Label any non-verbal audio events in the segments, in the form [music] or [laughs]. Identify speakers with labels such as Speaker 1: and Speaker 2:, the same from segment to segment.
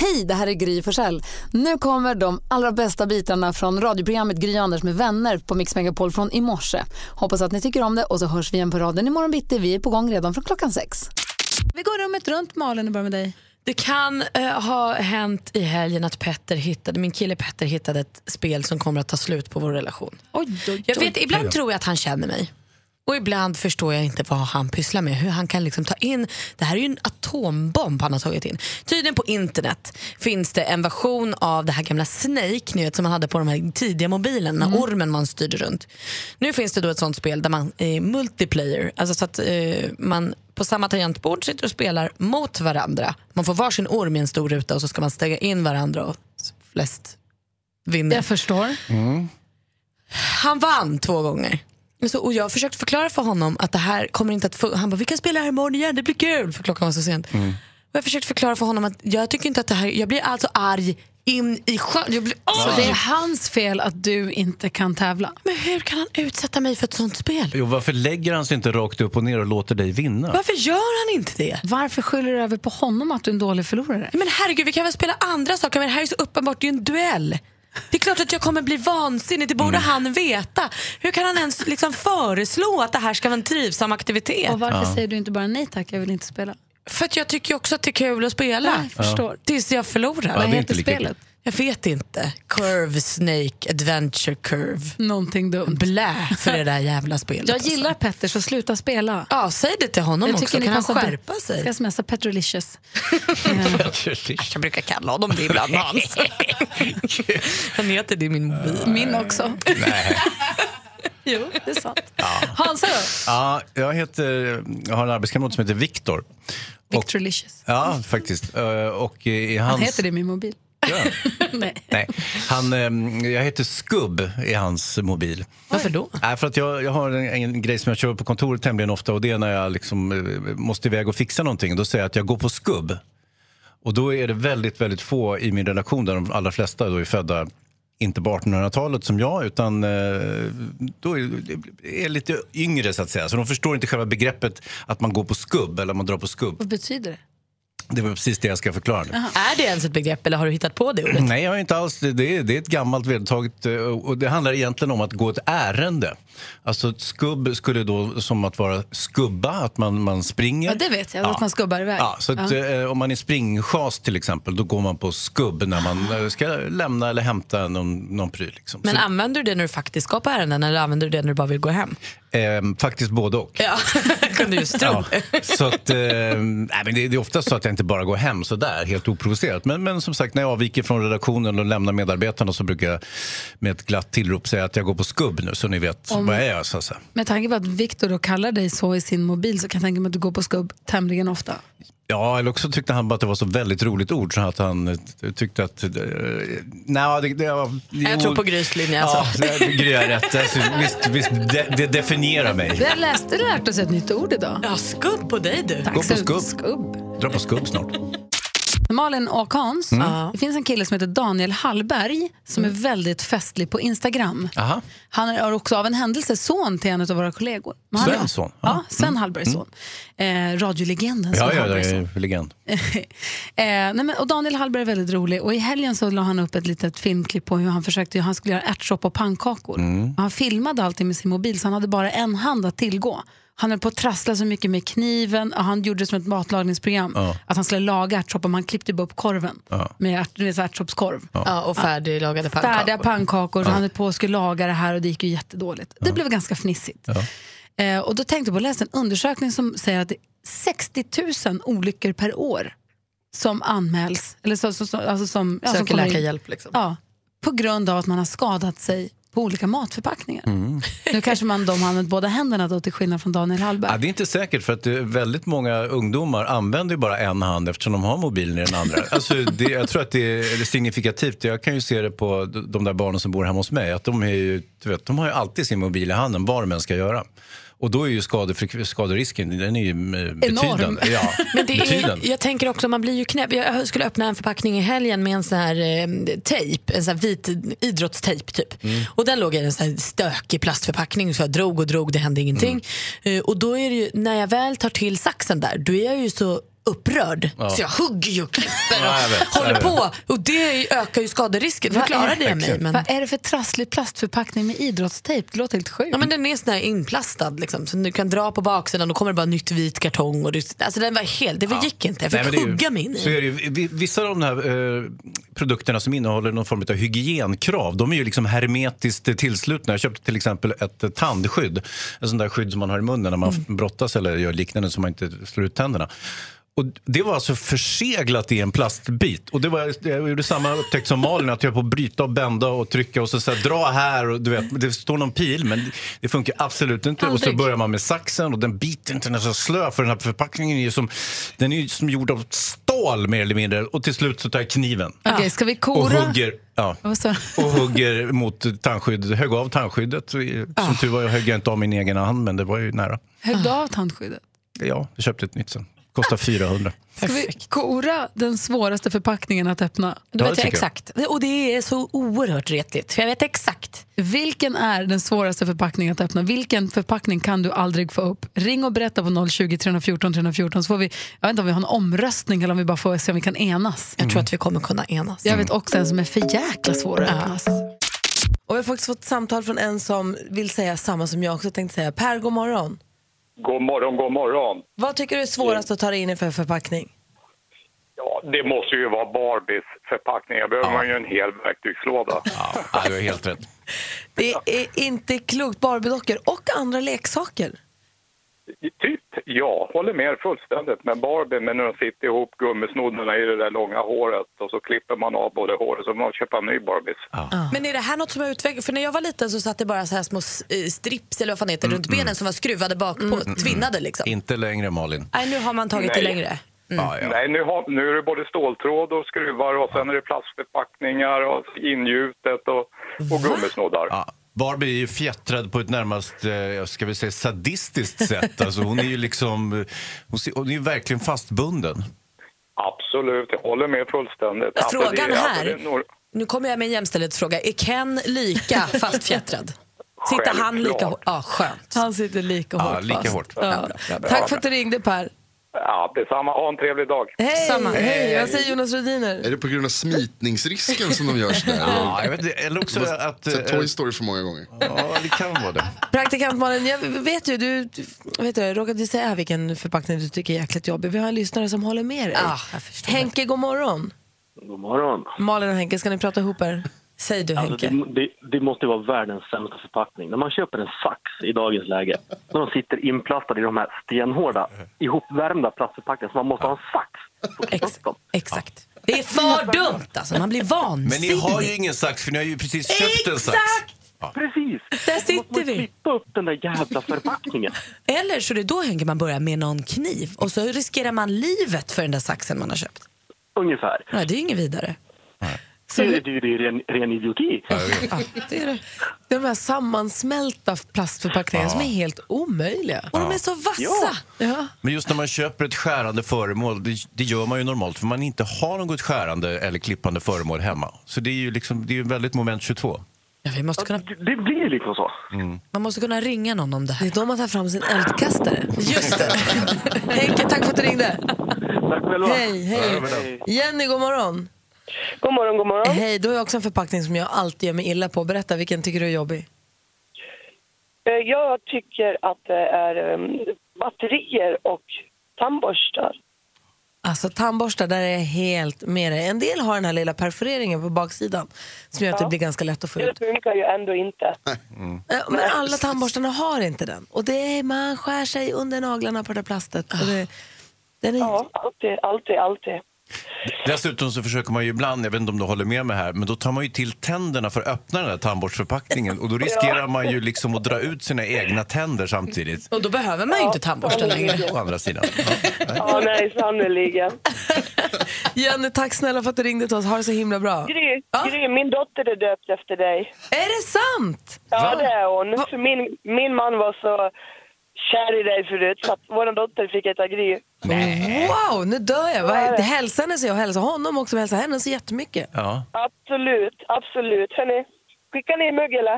Speaker 1: Hej, det här är Gry Forssell. Nu kommer de allra bästa bitarna från radioprogrammet Gry Anders med vänner på Mix Megapol från i morse. Hoppas att ni tycker om det och så hörs vi igen på raden imorgon bitti. Vi är på gång redan från klockan sex. Vi går rummet runt, Malin, och börjar med dig.
Speaker 2: Det kan eh, ha hänt i helgen att Petter hittade, min kille Petter hittade ett spel som kommer att ta slut på vår relation.
Speaker 1: Oj, oj,
Speaker 2: Jag vet, ibland tror jag att han känner mig. Och ibland förstår jag inte vad han pysslar med. Hur han kan liksom ta in, det här är ju en atombomb han har tagit in. Tydligen på internet finns det en version av det här gamla Snake ni vet, som man hade på de här tidiga mobilerna, ormen man styrde runt. Nu finns det då ett sånt spel där man är multiplayer, alltså så att eh, man på samma tangentbord sitter och spelar mot varandra. Man får varsin orm i en stor ruta och så ska man stänga in varandra och flest vinner.
Speaker 3: Jag förstår.
Speaker 2: Han vann två gånger. Så, och jag försökte förklara för honom att det här kommer inte att funka. Han bara, vi kan spela här imorgon igen, det blir kul. För klockan var så sent. Och jag försökte förklara för honom att jag tycker inte att det här, jag blir alltså arg in i sjön. Jag blir, åh,
Speaker 3: Så det är
Speaker 2: det-
Speaker 3: hans fel att du inte kan tävla.
Speaker 2: men hur kan han utsätta mig för ett sånt spel?
Speaker 4: Jo, varför lägger han sig inte rakt upp och ner och låter dig vinna?
Speaker 2: Varför gör han inte det?
Speaker 3: Varför skyller du över på honom att du är en dålig förlorare?
Speaker 2: Men herregud, vi kan väl spela andra saker, men det här är så uppenbart, det är ju en duell. Det är klart att jag kommer bli vansinnig, det borde han veta. Hur kan han ens liksom föreslå att det här ska vara en trivsam aktivitet?
Speaker 3: Och varför säger du inte bara nej tack, jag vill inte spela?
Speaker 2: För att jag tycker ju också att det är kul att spela.
Speaker 3: Jag förstår.
Speaker 2: Tills jag förlorar.
Speaker 4: Ja,
Speaker 3: Vad
Speaker 4: det är
Speaker 3: heter
Speaker 4: inte lika
Speaker 3: spelet?
Speaker 2: Jag vet inte. Curve Snake Adventure Curve.
Speaker 3: Någonting dumt.
Speaker 2: Blä för det där jävla spelet.
Speaker 3: Jag gillar Petter, så sluta spela.
Speaker 2: Alltså. Ja, säg det till honom
Speaker 3: Jag
Speaker 2: också. Kan han
Speaker 3: passar-
Speaker 2: skärpa sig?
Speaker 3: Ska smsa Petrolicious.
Speaker 2: Jag brukar kalla honom det [laughs] ibland. Hans. han heter det i min mobil.
Speaker 3: Min också. jo, det är sant. Hansa då?
Speaker 4: Ja, jag, heter, jag har en arbetskamrat som heter Viktor. Och,
Speaker 3: Petrolicious.
Speaker 4: ja, faktiskt. Eh, Och i hans...
Speaker 3: Han heter det i min mobil.
Speaker 4: Ja.
Speaker 3: [laughs] nej.
Speaker 4: Nej, han, eh, jag heter Skubb i hans mobil.
Speaker 2: Varför då?
Speaker 4: Nej, för att jag, jag har en, en grej som jag kör på kontoret tämligen ofta och det är när jag liksom, eh, måste iväg och fixa någonting. Då säger jag att jag går på skubb. Och då är det väldigt, väldigt få i min relation där de allra flesta då är födda inte på 1800-talet som jag, utan eh, då är, är lite yngre så att säga. Så de förstår inte själva begreppet att man går på skubb eller man drar på skubb.
Speaker 3: Vad betyder det?
Speaker 4: Det var precis det jag ska förklara nu.
Speaker 2: Är det ens ett begrepp eller har du hittat på det ordet?
Speaker 4: [laughs] Nej, jag har inte alls. Det, det, är, det är ett gammalt vedertaget eh, och det handlar egentligen om att gå ett ärende. Alltså ett skubb skulle då som att vara skubba, att man, man springer.
Speaker 3: Ja, det vet jag. Att man skubbar iväg.
Speaker 4: Ja, så att, eh, om man är springschas till exempel, då går man på skubb när man eh, ska lämna eller hämta någon, någon pryl. Liksom.
Speaker 2: Men använder du det när du faktiskt ska på ärenden eller använder du det när du bara vill gå hem?
Speaker 4: så, ehm, faktiskt både och.
Speaker 2: Ja, [laughs] kunde just tro.
Speaker 4: Ja, så att, eh, nej, men det, det är ofta så att jag inte bara går hem så där helt oprovocerat. Men, men som sagt, när jag avviker från redaktionen och lämnar medarbetarna så brukar jag med ett glatt tillrop säga att jag går på skubb nu, så ni vet vad jag är. Så att säga.
Speaker 3: Med tanke på att Viktor då kallar dig så i sin mobil så kan jag tänka mig att du går på skubb tämligen ofta.
Speaker 4: Ja, eller också tyckte han bara att det var så väldigt roligt ord så att han eh, tyckte att... Eh, nej, det, det var,
Speaker 2: Jag tror på Grys linje alltså.
Speaker 4: Ja, det- Gry har rätt. Alltså, visst, visst det, det definierar
Speaker 3: Vi
Speaker 4: mig.
Speaker 3: har läst, lärt oss ett nytt ord idag.
Speaker 2: Ja, skubb på dig du.
Speaker 4: Gå på
Speaker 3: Axel
Speaker 4: skubb.
Speaker 3: skubb.
Speaker 4: Dra på skubb snart.
Speaker 3: Malin och Hans,
Speaker 4: Mm.
Speaker 3: det finns en kille som heter Daniel Hallberg som är väldigt festlig på Instagram.
Speaker 4: Aha.
Speaker 3: Han är också av en händelse son till en av våra kollegor. Men han är-
Speaker 4: Svens son? Mm.
Speaker 3: Ja, Sven Hallbergs son. Eh, radiolegenden Sven
Speaker 4: Ja, ja, det
Speaker 3: Hallbergs son.
Speaker 4: är legend.
Speaker 3: Eh, nej men, och Daniel Hallberg är väldigt rolig och i helgen så la han upp ett litet filmklipp på hur han försökte hur han skulle göra ärtsoppa och pannkakor. Och han filmade allting med sin mobil så han hade bara en hand att tillgå. Han höll på att trassla så mycket med kniven och han gjorde det som ett matlagningsprogram. Att han skulle laga ärtsoppa men han klippte bara upp korven med ärt, med så här ärtsoppskorv.
Speaker 2: Ja, och färdiglagade pannkakor.
Speaker 3: Färdiga pannkakor, så han höll på och skulle laga det här och det gick ju jättedåligt. Det blev ganska fnissigt. Eh, och då tänkte jag på att läsa en undersökning som säger att det är 60 000 olyckor per år som anmäls, eller så, så, så, alltså som, ja, som
Speaker 2: Söker
Speaker 3: kommer in.
Speaker 2: läkarhjälp liksom.
Speaker 3: Ja, på grund av att man har skadat sig på olika matförpackningar.
Speaker 4: Mm.
Speaker 3: Nu kanske man de har använt båda händerna då till skillnad från Daniel Hallberg.
Speaker 4: Ja, det är inte säkert, för att det är väldigt många ungdomar använder ju bara en hand eftersom de har mobilen i den
Speaker 2: [laughs]
Speaker 4: andra. Alltså, det, jag tror att det är signifikativt. Jag kan ju se det på de där barnen som bor hemma hos mig. Att de, är ju, du vet, de har ju alltid sin mobil i handen, vad de än ska göra. Och då är ju skadefrek- skaderisken den är ju eh, betydande. Ja,
Speaker 2: [laughs] Men det
Speaker 4: betydande.
Speaker 2: är, jag tänker också, man blir ju knäpp. Jag skulle öppna en förpackning i helgen med en sån här eh, tejp, en sån här vit idrottstejp typ.
Speaker 4: Mm.
Speaker 2: Och den låg i en sån här stökig plastförpackning så jag drog och drog, det hände ingenting.
Speaker 4: Mm.
Speaker 2: Eh, och då är det ju, när jag väl tar till saxen där, då är jag ju så upprörd. Så jag hugger ju och klipper och
Speaker 4: Ja, jag vet, jag
Speaker 2: håller
Speaker 4: vet.
Speaker 2: på. Och det ökar ju skaderisken. Nu
Speaker 5: Vad är-
Speaker 2: klarade jag mig. Men,
Speaker 5: Vad är det för trasslig plastförpackning med idrottstejp? Det låter helt sjukt.
Speaker 2: ja, men den är sån här inplastad liksom. Så du kan dra på baksidan och kommer det bara nytt vit kartong. Och det, alltså den var helt, det gick inte. Jag
Speaker 4: Nej,
Speaker 2: fick
Speaker 4: men det är ju-
Speaker 2: hugga mig in i
Speaker 4: Så
Speaker 2: den.
Speaker 4: är det ju, Vi- vissa av de här eh, produkterna som innehåller någon form av hygienkrav, de är ju liksom hermetiskt eh, tillslutna. Jag köpte till exempel ett eh, tandskydd, en sån där skydd som man har i munnen när man
Speaker 2: Mm.
Speaker 4: brottas eller gör liknande så man inte slår ut tänderna. Och det var alltså förseglat i en plastbit. Och det var, jag gjorde samma upptäckt som Malin, att jag höll på att bryta och bända och trycka och så, så här, dra här. Och, du vet, det står någon pil, men det funkar absolut inte. Och så
Speaker 5: Aldrig.
Speaker 4: börjar man med saxen och den biter inte, den är så slö. För den här förpackningen är ju som, den är ju som gjord av stål mer eller mindre. Och till slut så tar jag kniven
Speaker 5: Okej, ska vi
Speaker 4: och
Speaker 5: kora?
Speaker 4: hugger, ja,
Speaker 5: Vad sa du?
Speaker 4: och hugger mot tandskyddet. Högg av tandskyddet.
Speaker 5: Ah.
Speaker 4: Som tur var jag högg jag inte av min egen hand, men det var ju nära.
Speaker 5: Högg du av tandskyddet?
Speaker 4: Ja, jag köpte ett nytt sen. Kostar
Speaker 5: Ah.
Speaker 4: 400.
Speaker 5: Ska vi kora den svåraste förpackningen att öppna?
Speaker 2: Då
Speaker 4: Ja,
Speaker 2: vet
Speaker 4: det
Speaker 2: jag
Speaker 4: tycker jag.
Speaker 2: exakt. Och det är så oerhört retligt. För jag vet exakt.
Speaker 5: Vilken är den svåraste förpackningen att öppna? Vilken förpackning kan du aldrig få upp? Ring och berätta på 020 314 314 så får vi, jag vet inte om vi har en omröstning eller om vi bara får se om vi kan enas.
Speaker 2: Jag tror att vi kommer kunna enas.
Speaker 5: Jag vet också en som är för jäkla svår att öppna. alltså.
Speaker 3: Och jag har faktiskt fått samtal från en som vill säga samma som jag också tänkte säga. Per, god morgon.
Speaker 6: God morgon, god morgon.
Speaker 3: Vad tycker du är svårast att ta dig in i för förpackning?
Speaker 6: Ja, det måste ju vara Barbies förpackning. Jag behöver man ju en hel verktygslåda.
Speaker 4: Ja, du har helt rätt.
Speaker 3: Det är inte klokt. Barbiedockor och andra leksaker.
Speaker 6: Typ, ja. Håller med fullständigt. Men Barbie, men när de sitter ihop gummisnoddarna i det där långa håret och så klipper man av både håret så får man köpa en ny Barbies.
Speaker 2: Men är det här något som har utvecklats? För när jag var liten så satt det bara så här små s- eh, strips eller vad fan heter det, runt benen som var skruvade bak på, tvinnade liksom.
Speaker 4: Inte längre, Malin.
Speaker 2: Nej, nu har man tagit det
Speaker 6: Nej.
Speaker 2: längre.
Speaker 5: Mm.
Speaker 4: Ja, ja.
Speaker 6: Nej, nu, har, nu är det både ståltråd och skruvar och sen är det plastförpackningar och ingjutet och, och gummisnoddar.
Speaker 4: Ja. Barbie är ju fjättrad på ett närmast eh, jag ska väl säga, sadistiskt sätt. Alltså, hon är ju liksom, eh, hon ser- hon är ju verkligen fastbunden.
Speaker 6: Absolut, jag håller med fullständigt. Alltså, det-
Speaker 2: Frågan
Speaker 6: alltså, det
Speaker 2: här,
Speaker 6: är nog-
Speaker 2: nu kommer jag med en jämställdhetsfråga. Är Ken
Speaker 5: [laughs]
Speaker 2: lika fastfjättrad? Sitter han lika
Speaker 6: Självklart.
Speaker 2: hårt? Ja, skönt.
Speaker 5: Han sitter lika hårt
Speaker 4: Ja, lika
Speaker 5: fast.
Speaker 4: hårt.
Speaker 5: Ja. Tack för att du ringde Per.
Speaker 6: Ja, detsamma. Ha en trevlig dag.
Speaker 3: Hej,
Speaker 2: Samma.
Speaker 3: hej. Vad säger Jonas Rhodiner?
Speaker 7: Är det på grund av smitningsrisken som de gör sådär?
Speaker 4: Ja, jag vet, inte, eller också att... eh,
Speaker 7: Så Toy Story för många gånger.
Speaker 4: Ja, det kan vara det.
Speaker 3: Praktikant Malin, jag vet ju, du du- vet du, råkade säga vilken förpackning du tycker är jäkligt jobbig. Vi har en lyssnare som håller med dig.
Speaker 2: Ah, jag förstår.
Speaker 3: Henke, god morgon.
Speaker 8: God morgon.
Speaker 3: Malin och Henke, ska ni prata ihop er?
Speaker 2: Säg du
Speaker 8: Alltså,
Speaker 2: Henke.
Speaker 8: det, det, det måste vara världens sämsta förpackning. När man köper en sax i dagens läge, när de sitter inplastade i de här stenhårda, ihopvärmda plastförpackningarna, så man måste ha en sax.
Speaker 2: Ex- exakt. Det är för dumt alltså, man blir
Speaker 4: Men
Speaker 2: vansinnig.
Speaker 4: ni har ju ingen sax, för ni har ju precis köpt en sax.
Speaker 2: Exakt!
Speaker 8: Precis!
Speaker 2: Där
Speaker 8: Då måste
Speaker 2: sitter
Speaker 8: man
Speaker 2: vi.
Speaker 8: klippa upp den där jävla förpackningen.
Speaker 2: [laughs] Eller så det är då Henke man börjar med någon kniv och så riskerar man livet för den där saxen man har köpt.
Speaker 8: Ungefär.
Speaker 2: Nej, det är ju inget vidare.
Speaker 8: Det, det, det är ju ren, ren idioti.
Speaker 3: Det är
Speaker 8: [laughs]
Speaker 3: det. De här sammansmälta plastförpackningarna som är helt omöjliga.
Speaker 2: Och de är så vassa!
Speaker 8: Ja.
Speaker 3: Ja.
Speaker 4: Men just när man köper ett skärande föremål, det, det gör man ju normalt för man inte har något skärande eller klippande föremål hemma. Så det är ju liksom, det är ju väldigt moment 22.
Speaker 2: Ja, vi måste kunna,
Speaker 8: Det- Det blir liksom så.
Speaker 2: man måste kunna ringa någon om det
Speaker 3: Det
Speaker 2: här.
Speaker 3: är då man tar fram sin eldkastare.
Speaker 2: Just det.
Speaker 3: Henke, tack för att du ringde.
Speaker 8: Tack själva.
Speaker 3: Hej, hej. Jenny, god morgon.
Speaker 9: God morgon, god morgon.
Speaker 3: Hej, du har jag också en förpackning som jag alltid gör mig illa på. Berätta, vilken tycker du är jobbig?
Speaker 9: Eh, Jag tycker att det är em, batterier och tandborstar.
Speaker 3: Alltså tandborstar, där är jag helt med dig. En del har den här lilla perforeringen på baksidan som gör att det blir ganska lätt att få
Speaker 7: Mm.
Speaker 3: ut.
Speaker 9: Det funkar ju ändå inte.
Speaker 3: Eh, Men alla tandborstarna har inte den. Och det är, man skär sig under naglarna på det där plastet. Och det, den är,
Speaker 9: Ja, alltid, alltid, alltid.
Speaker 4: Dessutom så försöker man ju ibland, jag vet inte om du håller med mig här, men då tar man ju till tänderna för att öppna den här tandborstförpackningen och då riskerar man ju liksom att dra ut sina egna tänder samtidigt.
Speaker 2: Och då behöver man ju inte tandborsten längre.
Speaker 4: Å andra sidan. Ja.
Speaker 9: Ja, nej, sannerligen.
Speaker 3: [laughs] Jenny, tack snälla för att du ringde till oss. Ha det så himla bra.
Speaker 9: Gry,
Speaker 3: Ja.
Speaker 9: Gry, min dotter är döpt efter dig.
Speaker 3: Är det sant?
Speaker 9: Ja, det är hon. För min, min man var så kär i dig förut, så att vår dotter fick heta Gry.
Speaker 3: Wow, nu dör jag. Vad- Hälsa henne så jag hälsar honom också. Hälsa henne så jättemycket.
Speaker 4: Ja.
Speaker 9: Absolut, absolut. Hörni, skickar ni mögel? eh.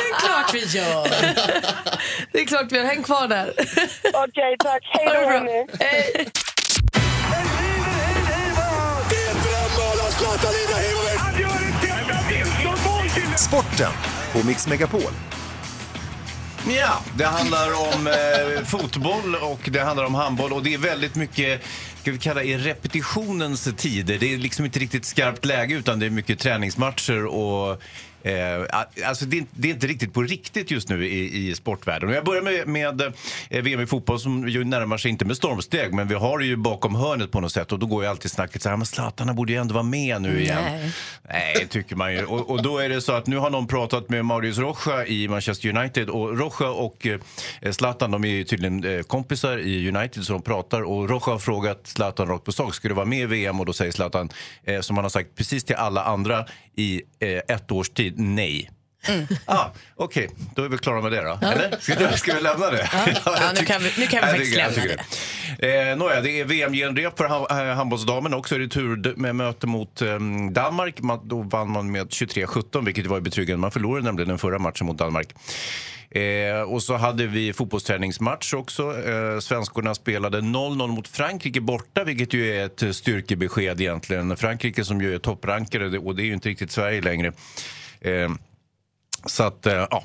Speaker 3: Det är klart vi gör. Det är klart vi gör. Häng kvar där.
Speaker 9: Okej, tack. Hej då, hörni.
Speaker 3: Eh,
Speaker 10: Sporten på Mix Megapol.
Speaker 4: Ja, det handlar om eh, fotboll och det handlar om handboll och det är väldigt mycket ska vi kalla i repetitionens tider. Det är liksom inte riktigt skarpt läge utan det är mycket träningsmatcher och eh, a- alltså det, är, inte- det är inte riktigt på riktigt just nu i, i sportvärlden. Och jag börjar med, med eh, VM i fotboll som ju närmar sig inte med stormsteg men vi har det ju bakom hörnet på något sätt och då går ju alltid snacket så här men Zlatan han borde ju ändå vara med nu igen.
Speaker 11: Nej.
Speaker 4: Nej, tycker man ju. Och, och då är det så att nu har någon pratat med Marius Rocha i Manchester United och Rocha och eh, Zlatan de är ju tydligen eh, kompisar i United så de pratar och Rocha har frågat Zlatan rakt på sak, ska du vara med i VM? Och då säger Zlatan, eh, som han har sagt precis till alla andra i eh, ett års tid, nej. [laughs] Ah, Okej, då är vi klara med det då. Eller? Ska, ska vi lämna det?
Speaker 2: [laughs] Ja, nu kan vi- nu kan vi
Speaker 4: Jag
Speaker 2: faktiskt
Speaker 4: tycker- jag
Speaker 2: lämna
Speaker 4: tycker det. Eh, Nåja, det är VM-genrep för ha- eh, handbollsdamen också. Retur med möte mot eh, Danmark. Man, då vann man med 23-17, vilket var ju betryggande. Man förlorade nämligen den förra matchen mot Danmark. Eh, och så hade vi fotbollsträningsmatch också. Eh, svenskorna spelade 0-0 mot Frankrike borta, vilket ju är ett styrkebesked egentligen. Frankrike som ju är topprankare, det- och det är ju inte riktigt Sverige längre. Eh, så att, eh, ja.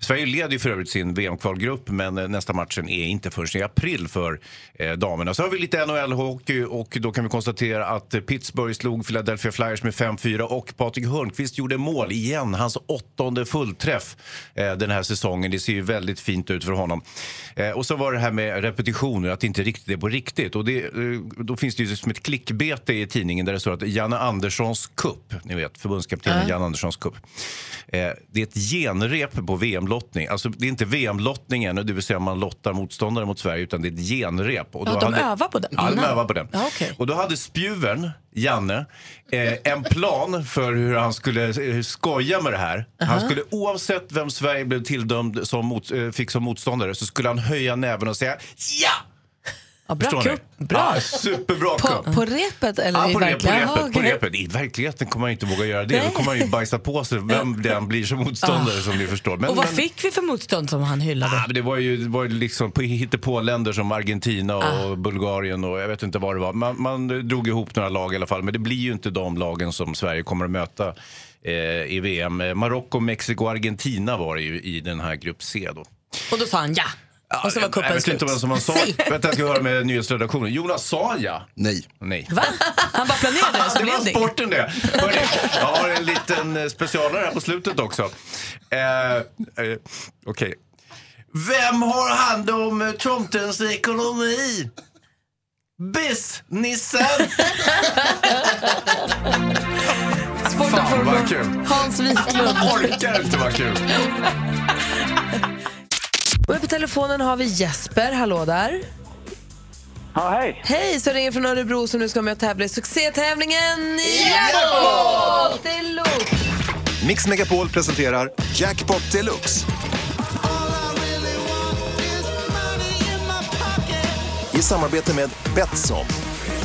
Speaker 4: Sverige leder ju för övrigt sin VM-kvalgrupp men eh, nästa matchen är inte förrän i april för eh, damerna. Så har vi lite NHL-hockey och då kan vi konstatera att eh, Pittsburgh slog Philadelphia Flyers med 5-4 och Patrik Hörnqvist gjorde mål igen, hans åttonde fullträff eh, den här säsongen. Det ser ju väldigt fint ut för honom. Eh, och så var det här med repetitioner, att det inte riktigt är på riktigt. Och det, eh, då finns det ju som ett klickbete i tidningen där det står att Janne Anderssons cup, ni vet förbundskaptenen Janne Anderssons cup. Eh, det är ett genrep på VM-lottning. Alltså, det är inte VM-lottning ännu, det vill säga man lottar motståndare mot Sverige, utan det är ett genrep. Och
Speaker 2: Ja, de övar på den Mm.
Speaker 4: Ja, de
Speaker 2: innan.
Speaker 4: övar på den. Och då hade spjuvern, Janne, eh, en plan för hur han skulle eh, skoja med det här. Han skulle oavsett vem Sverige blev tilldömd som mot, eh, fick som motståndare så skulle han höja näven och säga ja!
Speaker 3: Ja, bra
Speaker 4: Förstår ni?
Speaker 3: kupp. Bra.
Speaker 4: Ja, superbra
Speaker 3: På,
Speaker 4: kupp.
Speaker 3: på repet eller
Speaker 4: Ja,
Speaker 3: i
Speaker 4: på, rep, på,
Speaker 3: verkligheten? Jaha,
Speaker 4: repet, på
Speaker 3: okej.
Speaker 4: repet. I verkligheten kommer man inte våga göra det. Då kommer man ju bajsa på sig vem den blir som
Speaker 3: Ah.
Speaker 4: motståndare som ni förstår. Men,
Speaker 2: och vad
Speaker 4: men,
Speaker 2: fick vi för motstånd som han hyllade?
Speaker 4: Ah, men det var ju, det var ju liksom på hittepåländer som Argentina och
Speaker 2: Ah.
Speaker 4: Bulgarien och jag vet inte vad det var. Man, man drog ihop några lag i alla fall, men det blir ju inte de lagen som Sverige kommer att möta eh, i VM. Eh, Marocko, Mexiko och Argentina var det ju i den här grupp C då.
Speaker 2: Och då sa han ja. och så var
Speaker 4: Ah. jag
Speaker 2: kuppen
Speaker 4: vet
Speaker 2: slut.
Speaker 4: inte vem
Speaker 2: [laughs]
Speaker 4: som han sa. Vänta, jag ska höra med nyhetsredaktionen. Jonas, sa jag? Nej. Nej.
Speaker 2: Va? Han bara planerade det, så
Speaker 4: [laughs] Det
Speaker 2: blev
Speaker 4: var
Speaker 2: det.
Speaker 4: sporten det. Hörrni, jag har en liten eh, specialare här på slutet också. Eh, eh, Okej. Vem har hand om eh, tomtens ekonomi? Businessen! Fan vad kul.
Speaker 3: Hans Wiklund.
Speaker 4: Orkar inte vad kul.
Speaker 3: Och på telefonen har vi Jesper. Hallå där.
Speaker 12: Ja, hej.
Speaker 3: Hej, så ringer från Örebro som nu ska med och tävla i succétävlingen
Speaker 12: Jackpot
Speaker 3: Jackpot Deluxe!
Speaker 10: Mix Megapol presenterar Jackpot Deluxe. I samarbete med Betsson.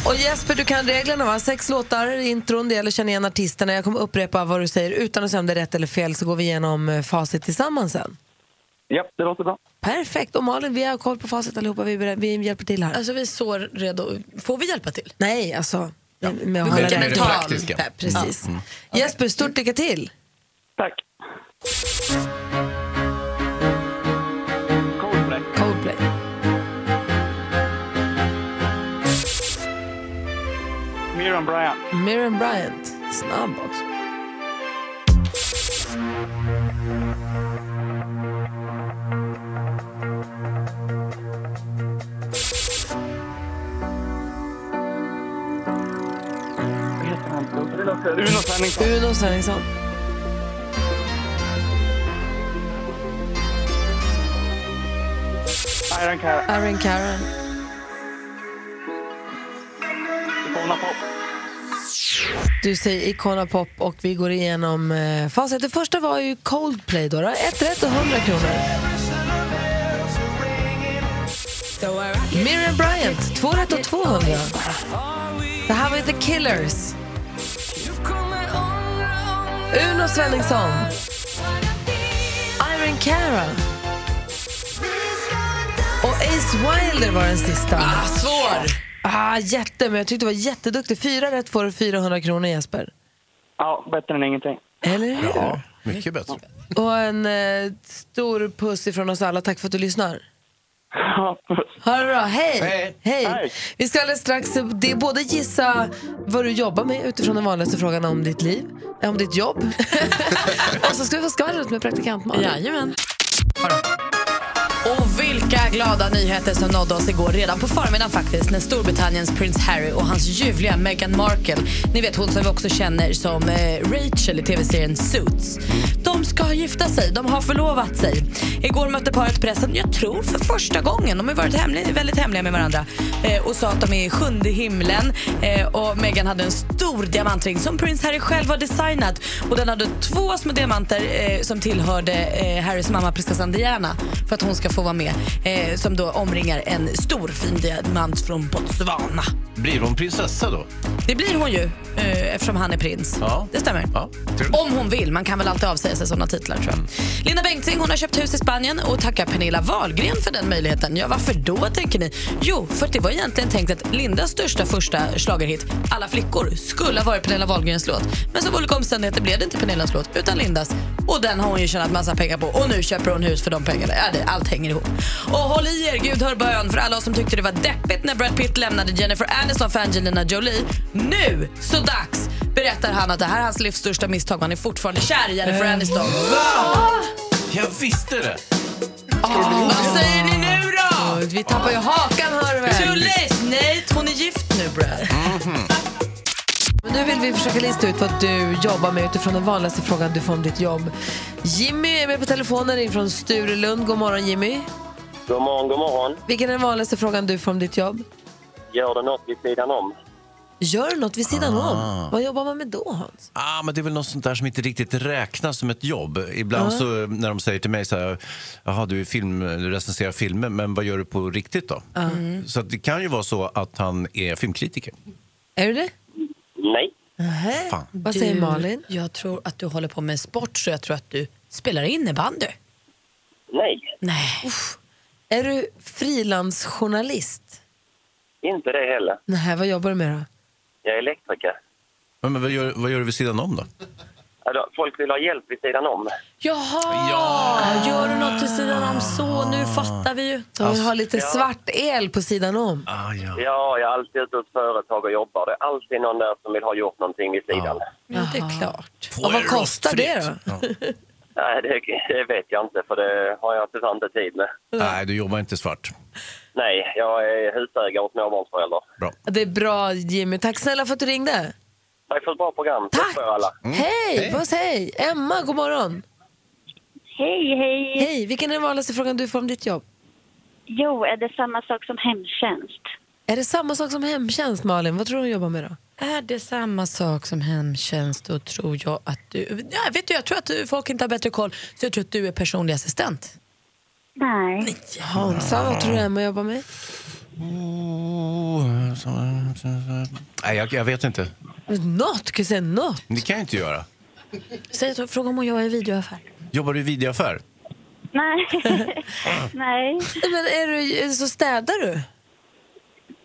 Speaker 3: Och Jesper, du kan reglerna va? Sex låtar i intron, det gäller att känna igen artisterna. Jag kommer upprepa vad du säger utan att säga om det är rätt eller fel så går vi igenom eh, facit tillsammans sen.
Speaker 12: Ja, det låter bra.
Speaker 3: Perfekt. Och Malin, vi har koll på facit allihopa. Vi, är beredda- vi hjälper till här.
Speaker 2: Alltså vi är så redo. Får vi hjälpa till?
Speaker 3: Nej, alltså. Med, med
Speaker 2: Vi
Speaker 3: att höra
Speaker 2: tänker
Speaker 3: rätt
Speaker 2: med det
Speaker 3: tal.
Speaker 2: praktiska.
Speaker 3: Ja, precis.
Speaker 2: Mm.
Speaker 3: Jesper, stort lycka till.
Speaker 12: Tack. Coldplay.
Speaker 3: Coldplay.
Speaker 12: Miriam Bryant.
Speaker 3: Miriam Bryant. Snabb också.
Speaker 12: Uno Svenningsson.
Speaker 3: Uno Svenningsson.
Speaker 12: Iron Cara.
Speaker 3: Aaron Karen.
Speaker 12: Icona Pop.
Speaker 3: Du säger Icona Pop och vi går igenom eh, facit. Det första var ju Coldplay. Då, då. Ett rätt och 100 kronor. Miriam Bryant, två rätt och 200. Det här var ju The Killers. Uno Svenningsson. Irene Cara. Och Ace Wilder var den sista. Ah, svår! Ah, jätte, men jag tyckte du var jätteduktig. Fyra rätt får du 400 kronor, Jesper.
Speaker 12: Ja, bättre än ingenting.
Speaker 3: Eller hur?
Speaker 4: Ja, mycket bättre.
Speaker 3: Och en eh, stor puss ifrån oss alla. Tack för att du lyssnar. Ha det bra. Hej.
Speaker 4: Eh,
Speaker 12: Hej.
Speaker 3: Hej! Vi ska alldeles strax det är både gissa vad du jobbar med utifrån den vanligaste frågan om ditt liv, eh, om ditt jobb. [laughs] och så ska vi få skvallret med praktikant Malin.
Speaker 2: Jajamän. Och vilka glada nyheter som nådde oss igår redan på förmiddagen faktiskt när Storbritanniens prins Harry och hans ljuvliga Meghan Markle, ni vet hon som vi också känner som eh, Rachel i tv-serien Suits. De ska gifta sig, de har förlovat sig. Igår mötte paret pressen, jag tror för första gången. De har ju varit hemliga, väldigt hemliga med varandra eh, och sa att de är i sjunde himlen. Eh, och Meghan hade en stor diamantring som prins Harry själv har designat och den hade två små diamanter eh, som tillhörde eh, Harrys mamma prinsessan Diana för att hon ska få vara med eh, som då omringar en stor fin diamant från Botswana.
Speaker 4: Blir hon prinsessa då?
Speaker 2: Det blir hon ju eh, eftersom han är prins.
Speaker 4: Ja.
Speaker 2: Det stämmer.
Speaker 4: Ja,
Speaker 2: Om hon vill, man kan väl alltid avsäga sig sådana titlar tror jag. Linda Bengtzing hon har köpt hus i Spanien och tackar Pernilla Wahlgren för den möjligheten. Ja, varför då tänker ni? Jo, för att det var egentligen tänkt att Lindas största första schlagerhit, Alla flickor, skulle ha varit Pernilla Wahlgrens låt. Men som olika omständigheter blev det inte Pernillas låt utan Lindas. Och den har hon ju tjänat massa pengar på och nu köper hon hus för de pengarna. Ja, det, allt hänger ihop. Och håll i er, Gud hör bön för alla oss som tyckte det var deppigt när Brad Pitt lämnade Jennifer Aniston för Angelina Jolie. Nu så dags berättar han att det här är hans livs största misstag. Han är fortfarande kär i Jennifer Aniston.
Speaker 4: Eh, Jag visste det!
Speaker 2: Ah, Vad säger ni nu då?
Speaker 3: Vi tappar ju hakan hör du väl.
Speaker 2: Too late! Nej, hon är gift nu Brad.
Speaker 3: Men nu vill vi försöka lista ut vad du jobbar med utifrån den vanligaste frågan du får om ditt jobb. Jimmy är med på telefonen ifrån Sturelund. God morgon Jimmy.
Speaker 12: God morgon, god morgon.
Speaker 3: Vilken är den vanligaste frågan du får om ditt jobb?
Speaker 12: Gör du något vid sidan om?
Speaker 3: Gör du något vid sidan
Speaker 4: Ah.
Speaker 3: om? Vad jobbar man med då Hans?
Speaker 4: Ah, men det är väl något sånt där som inte riktigt räknas som ett jobb. Ibland
Speaker 3: Ja.
Speaker 4: så när de säger till mig så här, jaha du, är film, du recenserar filmer, men vad gör du på riktigt då? Så att det kan ju vara så att han är filmkritiker.
Speaker 3: Är du det?
Speaker 12: Nej.
Speaker 3: Nähä.
Speaker 4: Fan.
Speaker 3: Vad säger
Speaker 2: Du,
Speaker 3: Malin?
Speaker 2: Jag tror att du håller på med sport så jag tror att du spelar innebandy.
Speaker 12: Nej,
Speaker 2: Nej.
Speaker 3: Är du frilansjournalist?
Speaker 12: inte det heller.
Speaker 3: Nej, vad jobbar du med då?
Speaker 12: Jag är elektriker.
Speaker 4: Men, men vad, gör, vad gör du vid sidan om då?
Speaker 12: Alltså, folk vill ha hjälp vid sidan om.
Speaker 2: Jaha! Gör du något till sidan om så? Nu fattar vi ju.
Speaker 3: Du vill ha lite svart el på sidan om.
Speaker 12: ja. jag är alltid ute hos företag och jobbar. Det är alltid någon där som vill ha gjort någonting vid sidan.
Speaker 2: Ja, det är klart.
Speaker 3: Och vad kostar det då?
Speaker 12: Nej, det, det vet jag inte, för det har jag tyvärr inte tid med.
Speaker 4: Nej, du jobbar inte svart.
Speaker 12: Nej, jag är husägare och småbarnsförälder.
Speaker 3: Det är bra Jimmy. Tack snälla för att du ringde.
Speaker 12: Tack för ett bra program. Tack! för alla.
Speaker 3: Hej! Puss, hej! Emma, god morgon.
Speaker 11: Hej, hej.
Speaker 3: Hej, vilken är den vanligaste frågan du får om ditt jobb?
Speaker 11: Jo, är det samma sak som hemtjänst?
Speaker 3: Är det samma sak som hemtjänst, Malin? Vad tror du hon jobbar med då?
Speaker 2: Är det samma sak som hemtjänst då tror jag att du... Ja, vet du, jag tror att du, folk inte har bättre koll så jag tror att du är personlig assistent.
Speaker 11: Nej.
Speaker 3: Hansa, vad tror du Emma jobbar med? Mm.
Speaker 4: Nej, jag, jag vet inte.
Speaker 3: Något, kan jag säga något.
Speaker 4: Det kan jag inte göra.
Speaker 2: Säg att fråga om hon jobbar i videoaffär.
Speaker 4: Jobbar du i videoaffär?
Speaker 12: [laughs]
Speaker 11: Nej. Nej.
Speaker 3: Men är du, så städar du?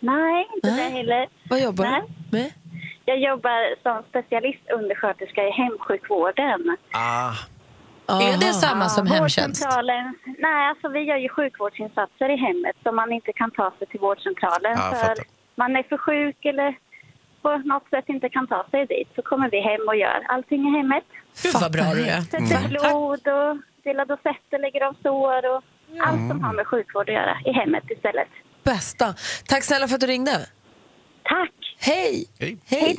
Speaker 11: Nej, inte det heller.
Speaker 3: Vad jobbar
Speaker 11: Nej.
Speaker 3: du med?
Speaker 11: Jag jobbar som specialistundersköterska i hemsjukvården.
Speaker 4: Ah.
Speaker 2: Är det samma som
Speaker 11: Ja,
Speaker 2: hemtjänst?
Speaker 11: Vårdcentralen, nej, alltså vi gör ju sjukvårdsinsatser i hemmet som man inte kan ta sig till vårdcentralen
Speaker 2: Ja, jag
Speaker 11: för
Speaker 2: fattar.
Speaker 11: man är för sjuk eller på något sätt inte kan ta sig dit. Så kommer vi hem och gör allting i hemmet.
Speaker 2: Gud vad bra du är.
Speaker 11: Sätter blod och delar dosetter, lägger av sår och allt som har med sjukvård att göra i hemmet istället.
Speaker 3: Bästa. Tack snälla för att du ringde.
Speaker 11: Tack!
Speaker 3: Hej!
Speaker 4: Hej.
Speaker 3: Hej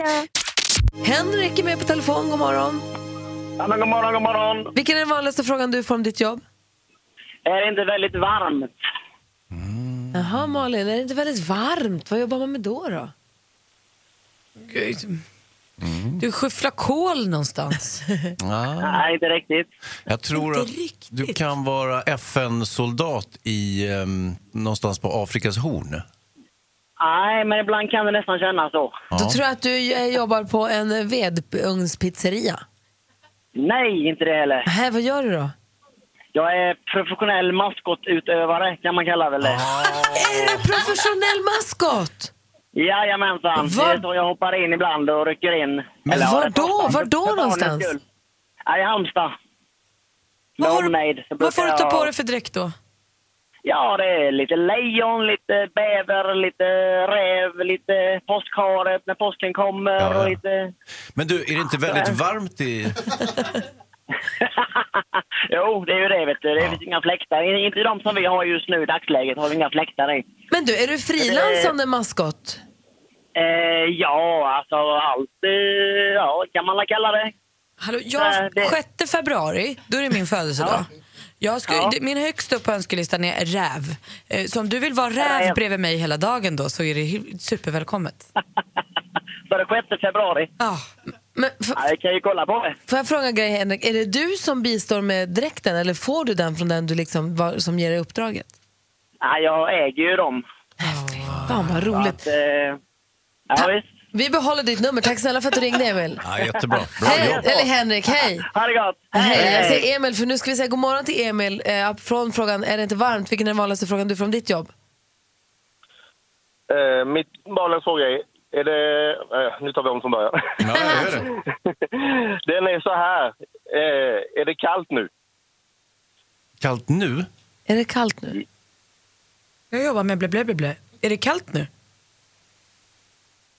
Speaker 3: Henrik är med på telefon. God morgon.
Speaker 12: Ja, men god morgon, god morgon.
Speaker 3: Vilken är den vanligaste frågan du får om ditt jobb?
Speaker 12: Är det inte väldigt varmt?
Speaker 4: Mm.
Speaker 3: Jaha, Malin, är det inte väldigt varmt? Vad jobbar man med då? då?
Speaker 4: Mm.
Speaker 2: Du skyfflar kol någonstans.
Speaker 4: Ah.
Speaker 12: Nej, inte riktigt.
Speaker 4: Jag
Speaker 2: Inte
Speaker 4: tror att du kan vara FN-soldat i ehm, någonstans på Afrikas horn.
Speaker 12: Nej, men ibland kan det nästan kännas så.
Speaker 4: Ja.
Speaker 3: [laughs] Då tror jag att du eh, jobbar på en vedugnspizzeria.
Speaker 12: Nej, inte det heller.
Speaker 3: Hä, vad gör du då?
Speaker 12: Jag är professionell maskotutövare, kan man kalla väl det.
Speaker 3: Är du professionell maskot?
Speaker 12: Jajamensan, det
Speaker 3: Var-
Speaker 12: är så jag hoppar in ibland och rycker in.
Speaker 3: Men
Speaker 12: Eller, ja,
Speaker 3: var
Speaker 12: det
Speaker 3: då?
Speaker 12: passar.
Speaker 3: Var då
Speaker 12: För barnens
Speaker 3: någonstans?
Speaker 12: skull. Ja, I Halmstad. Med omnejd. Så
Speaker 2: Vad får du
Speaker 12: brukar
Speaker 2: ta på
Speaker 12: jag-
Speaker 2: dig för dräkt då?
Speaker 12: Ja, det är lite lejon, lite bäver, lite räv, lite påskharet när påsken kommer
Speaker 4: Ja, ja.
Speaker 12: och lite...
Speaker 4: Men du, är det inte väldigt varmt i...
Speaker 12: Jo, det är ju det vet du. Det finns inga fläktar. I- Inte i de som vi har just nu i dagsläget har vi inga fläktar i.
Speaker 3: Men du, är du frilansande maskot?
Speaker 12: Eh, ja, alltså allt... Eh, ja, kan man väl kalla det. [laughs]
Speaker 2: Hallå,
Speaker 12: Nej,
Speaker 2: jag,
Speaker 12: det-
Speaker 2: 6 februari, då är det min födelsedag. Jag skulle, det- Min högst upp på önskelistan är räv. Eh, Så om du vill vara räv
Speaker 12: Räv.
Speaker 2: bredvid mig hela dagen då så är det hi- supervälkommet.
Speaker 12: Så det är 6 februari.
Speaker 2: Ja.
Speaker 3: Men,
Speaker 12: ja, jag kan ju kolla på det.
Speaker 3: Får jag fråga en grej, Henrik? Är det du som bistår med dräkten eller får du den från den du liksom var, som ger dig uppdraget?
Speaker 12: Ja, jag äger ju dem.
Speaker 3: Fan vad roligt.
Speaker 12: Så att, eh, ja, visst.
Speaker 3: Vi behåller ditt nummer. Tack snälla för att du ringde, Emil.
Speaker 4: Ja, jättebra. Bra
Speaker 3: Hej,
Speaker 4: jobbat.
Speaker 3: eller Henrik, hej!
Speaker 12: Ha det gott!
Speaker 3: Hej, jag
Speaker 12: Hej.
Speaker 3: säger Emil, för nu ska vi säga god morgon till Emil eh, från frågan Är det inte varmt? Vilken är den vanligaste frågan du får om ditt jobb?
Speaker 8: Eh, mitt barnens fråga är... är det, eh, nu tar vi om från början. [laughs] Den är så här. Eh, är det kallt nu?
Speaker 4: Kallt nu?
Speaker 3: Är det kallt nu?
Speaker 2: Jag jobbar med blä, blä, blä, blä. Är det kallt nu?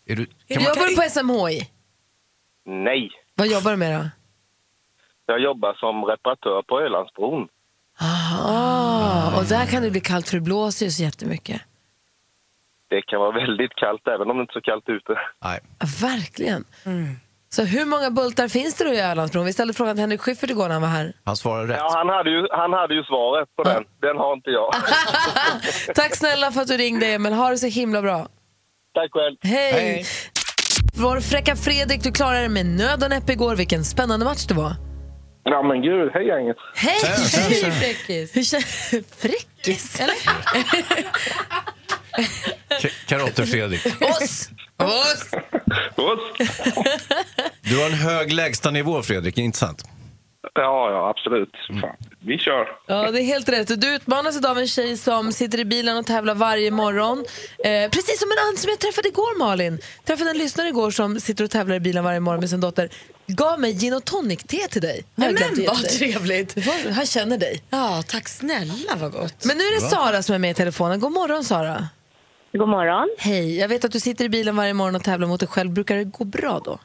Speaker 4: Är du...
Speaker 8: Kan man-
Speaker 3: jobbar du på SMHI?
Speaker 8: Nej.
Speaker 3: Vad jobbar du med då?
Speaker 8: Jag jobbar som reparatör på Ölandsbron.
Speaker 3: Aha, och där kan det bli kallt för det blåser ju så jättemycket.
Speaker 8: Det kan vara väldigt kallt, även om det inte är så kallt ute.
Speaker 4: Nej.
Speaker 3: Ja, Verkligen. Så hur många bultar finns det då i Ölandsbron? Vi ställde frågan till Henrik Schyffert igår när han var här.
Speaker 4: Han svarar rätt.
Speaker 8: Ja, han, hade ju, han hade ju svaret på den. Den har inte
Speaker 11: [laughs]
Speaker 8: jag.
Speaker 3: [laughs] Tack snälla för att du ringde Emil. Ha det så himla bra.
Speaker 8: Tack själv.
Speaker 3: Hej!
Speaker 8: Hej.
Speaker 3: Vår fräcka Fredrik, du klarade det med nöd och näppe igår. Vilken spännande match det var.
Speaker 8: Ja, men gud. Hej, gänget.
Speaker 3: Hej!
Speaker 2: Alltså,
Speaker 8: Hej,
Speaker 3: fräckis!
Speaker 2: [laughs]
Speaker 3: Hur kän- fräckis? Eller?
Speaker 4: Karate-Fredrik,
Speaker 3: Oss! Oss!
Speaker 4: du har en hög lägstanivå, Fredrik. Inte sant?
Speaker 8: Ja, ja, absolut. Fan. Vi kör.
Speaker 3: Ja, det är helt rätt. Och Du utmanas idag av en tjej som sitter i bilen och tävlar varje morgon. Eh, precis som en annan som jag träffade igår, Malin. träffade en lyssnare igår som sitter och tävlar i bilen varje morgon med sin dotter. Gav mig gin och tonic-te till dig. Har jag
Speaker 2: Nej, men
Speaker 3: glömt att ge
Speaker 2: vad
Speaker 3: till dig.
Speaker 2: trevligt.
Speaker 3: Det var- Han känner dig.
Speaker 2: Ja, tack snälla vad gott.
Speaker 3: Men nu är det
Speaker 2: Va?
Speaker 3: Sara som är med i telefonen. God morgon, Sara.
Speaker 13: God morgon.
Speaker 3: Hej. Jag vet att du sitter i bilen varje morgon och tävlar mot dig själv. Brukar det gå bra då?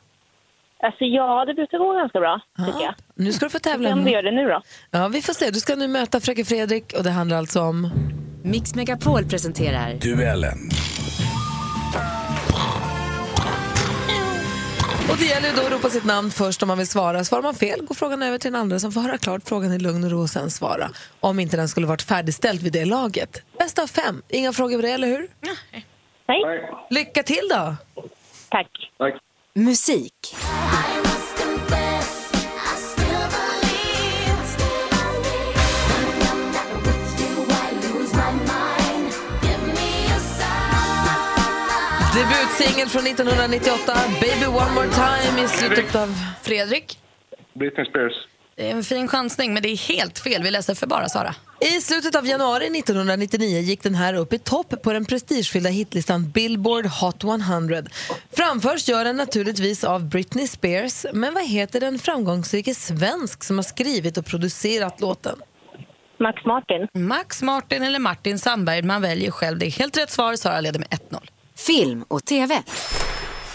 Speaker 13: Alltså ja, det brukar gå ganska bra, tycker jag.
Speaker 3: Nu ska du få
Speaker 13: Vi
Speaker 3: tävla.
Speaker 13: får se om det gör det nu då.
Speaker 3: Ja, vi får se. Du ska nu möta Fräcke Fredrik och det handlar alltså om...
Speaker 14: Mix Megapol presenterar
Speaker 15: Duellen.
Speaker 3: Och det gäller ju då att ropa sitt namn först om man vill svara. Svarar man fel går frågan över till den andra som får höra klart frågan i lugn och ro och sen svara. Om inte den skulle varit färdigställd vid det laget. Bäst av fem. Inga frågor på det, eller hur?
Speaker 13: Nej.
Speaker 3: Lycka till då!
Speaker 13: Tack.
Speaker 14: musik.
Speaker 3: Debutsingel från 1998, Baby One More Time i slutet av...
Speaker 2: Fredrik,
Speaker 8: Britney Spears.
Speaker 2: det är en fin chansning men det är helt fel. Vi läser för bara Sara.
Speaker 3: I slutet av januari 1999 gick den här upp i topp på den prestigefyllda hitlistan Billboard Hot 100. Framförs gör den naturligtvis av Britney Spears, men vad heter den framgångsrike svensk som har skrivit och producerat låten?
Speaker 13: Max Martin.
Speaker 2: Max Martin eller Martin Sandberg, man väljer själv. Det är helt rätt svar. Sara leder med 1-0.
Speaker 14: Film och TV.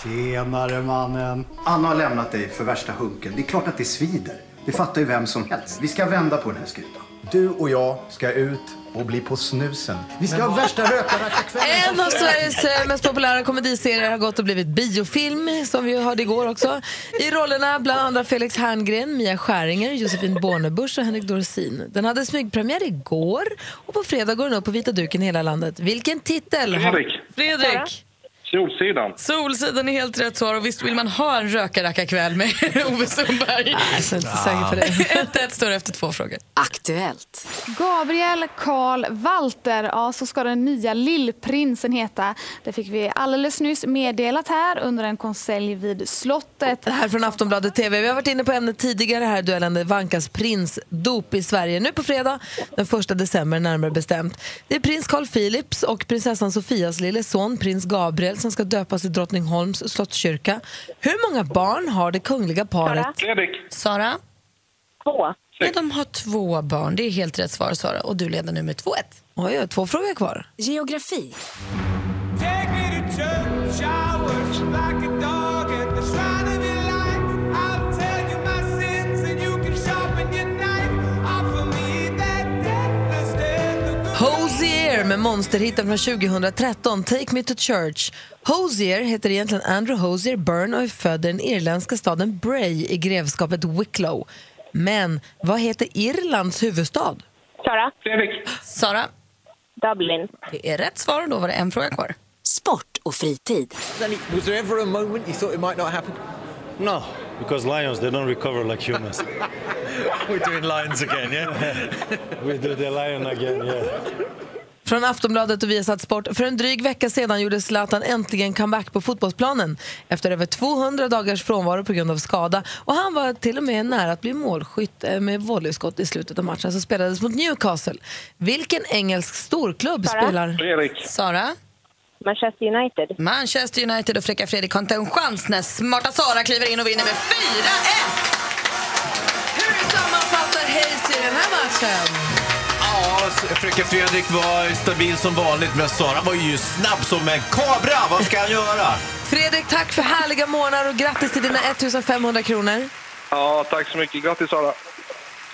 Speaker 16: Tjenare mannen. Anna har lämnat dig för värsta hunken. Det är klart att det svider. Det fattar ju vem som helst. Vi ska vända på den här skutan. Du och jag ska ut och bli på snusen. Vi ska ha värsta rökarrackarkvällen.
Speaker 3: En av Sveriges eh, mest populära komediserier har gått och blivit biofilm, som vi hörde igår också. I rollerna bland andra Felix Herngren, Mia Skäringer, Josefin Bornebusch och Henrik Dorsin. Den hade smygpremiär igår och på fredag går den upp på vita duken i hela landet. Vilken titel! har-
Speaker 8: Fredrik.
Speaker 3: Fredrik!
Speaker 6: Solsidan.
Speaker 2: Solsidan är helt rätt svar och visst vill man ha en rökarrackarkväll med [laughs] Ove Sundberg? Nej,
Speaker 5: jag är inte säker
Speaker 2: [laughs]
Speaker 5: på det.
Speaker 2: 1-1 står efter två frågor.
Speaker 14: Aktuellt.
Speaker 15: Gabriel Karl Walter, ja, så ska den nya lillprinsen heta. Det fick vi alldeles nyss meddelat här under en konselj vid slottet.
Speaker 3: Det här från Aftonbladet TV. Vi har varit inne på ämnet tidigare här duellande Vankas prinsdop i Sverige. Nu på fredag, den 1 december närmare bestämt. Det är prins Carl Philips och prinsessan Sofias lille son prins Gabriel som ska döpas i Drottningholms slottskyrka. Hur många barn har det kungliga paret?
Speaker 6: Fredrik.
Speaker 2: Sara?
Speaker 13: Två.
Speaker 2: Ja, de har två barn. Det är helt rätt svar, Sara. Och du leder nu med 2-1.
Speaker 3: Oj, jag har två frågor kvar.
Speaker 14: Geografi.
Speaker 3: Hosier med monsterhitten från 2013, Take Me To Church. Hosier heter egentligen Andrew Hosier Byrne och är född i den irländska staden Bray i grevskapet Wicklow. Men vad heter Irlands huvudstad?
Speaker 13: Sara?
Speaker 6: Fredrik.
Speaker 2: Sara?
Speaker 13: Dublin.
Speaker 2: Det är rätt svar och då var det en fråga kvar.
Speaker 14: Sport och fritid.
Speaker 17: Was there ever a moment you thought it might not happen?
Speaker 18: No, because lions they don't recover like humans. We're doing lions again, yeah. we do the lion again, yeah.
Speaker 3: Från Aftonbladet och Viasat Sport. För en dryg vecka sedan gjorde Zlatan äntligen comeback på fotbollsplanen efter över 200 dagars frånvaro på grund av skada. Och han var till och med nära att bli målskytt eh, med volleyskott i slutet av matchen som spelades mot Newcastle. Vilken engelsk storklubb
Speaker 13: Sara?
Speaker 3: spelar...
Speaker 6: Fredrik.
Speaker 2: Sara?
Speaker 13: Manchester United.
Speaker 2: Manchester United och fräcka Fredrik har inte en chans när smarta Sara kliver in och vinner med 4-1!
Speaker 3: Hur sammanfattar Hayes i den här matchen?
Speaker 19: Ja, fröken Fredrik var stabil som vanligt, men Sara var ju snabb som en kobra. Vad ska han göra?
Speaker 3: Fredrik, tack för härliga månader och grattis till dina 1500 kronor.
Speaker 6: Ja, tack så mycket. Grattis, Sara.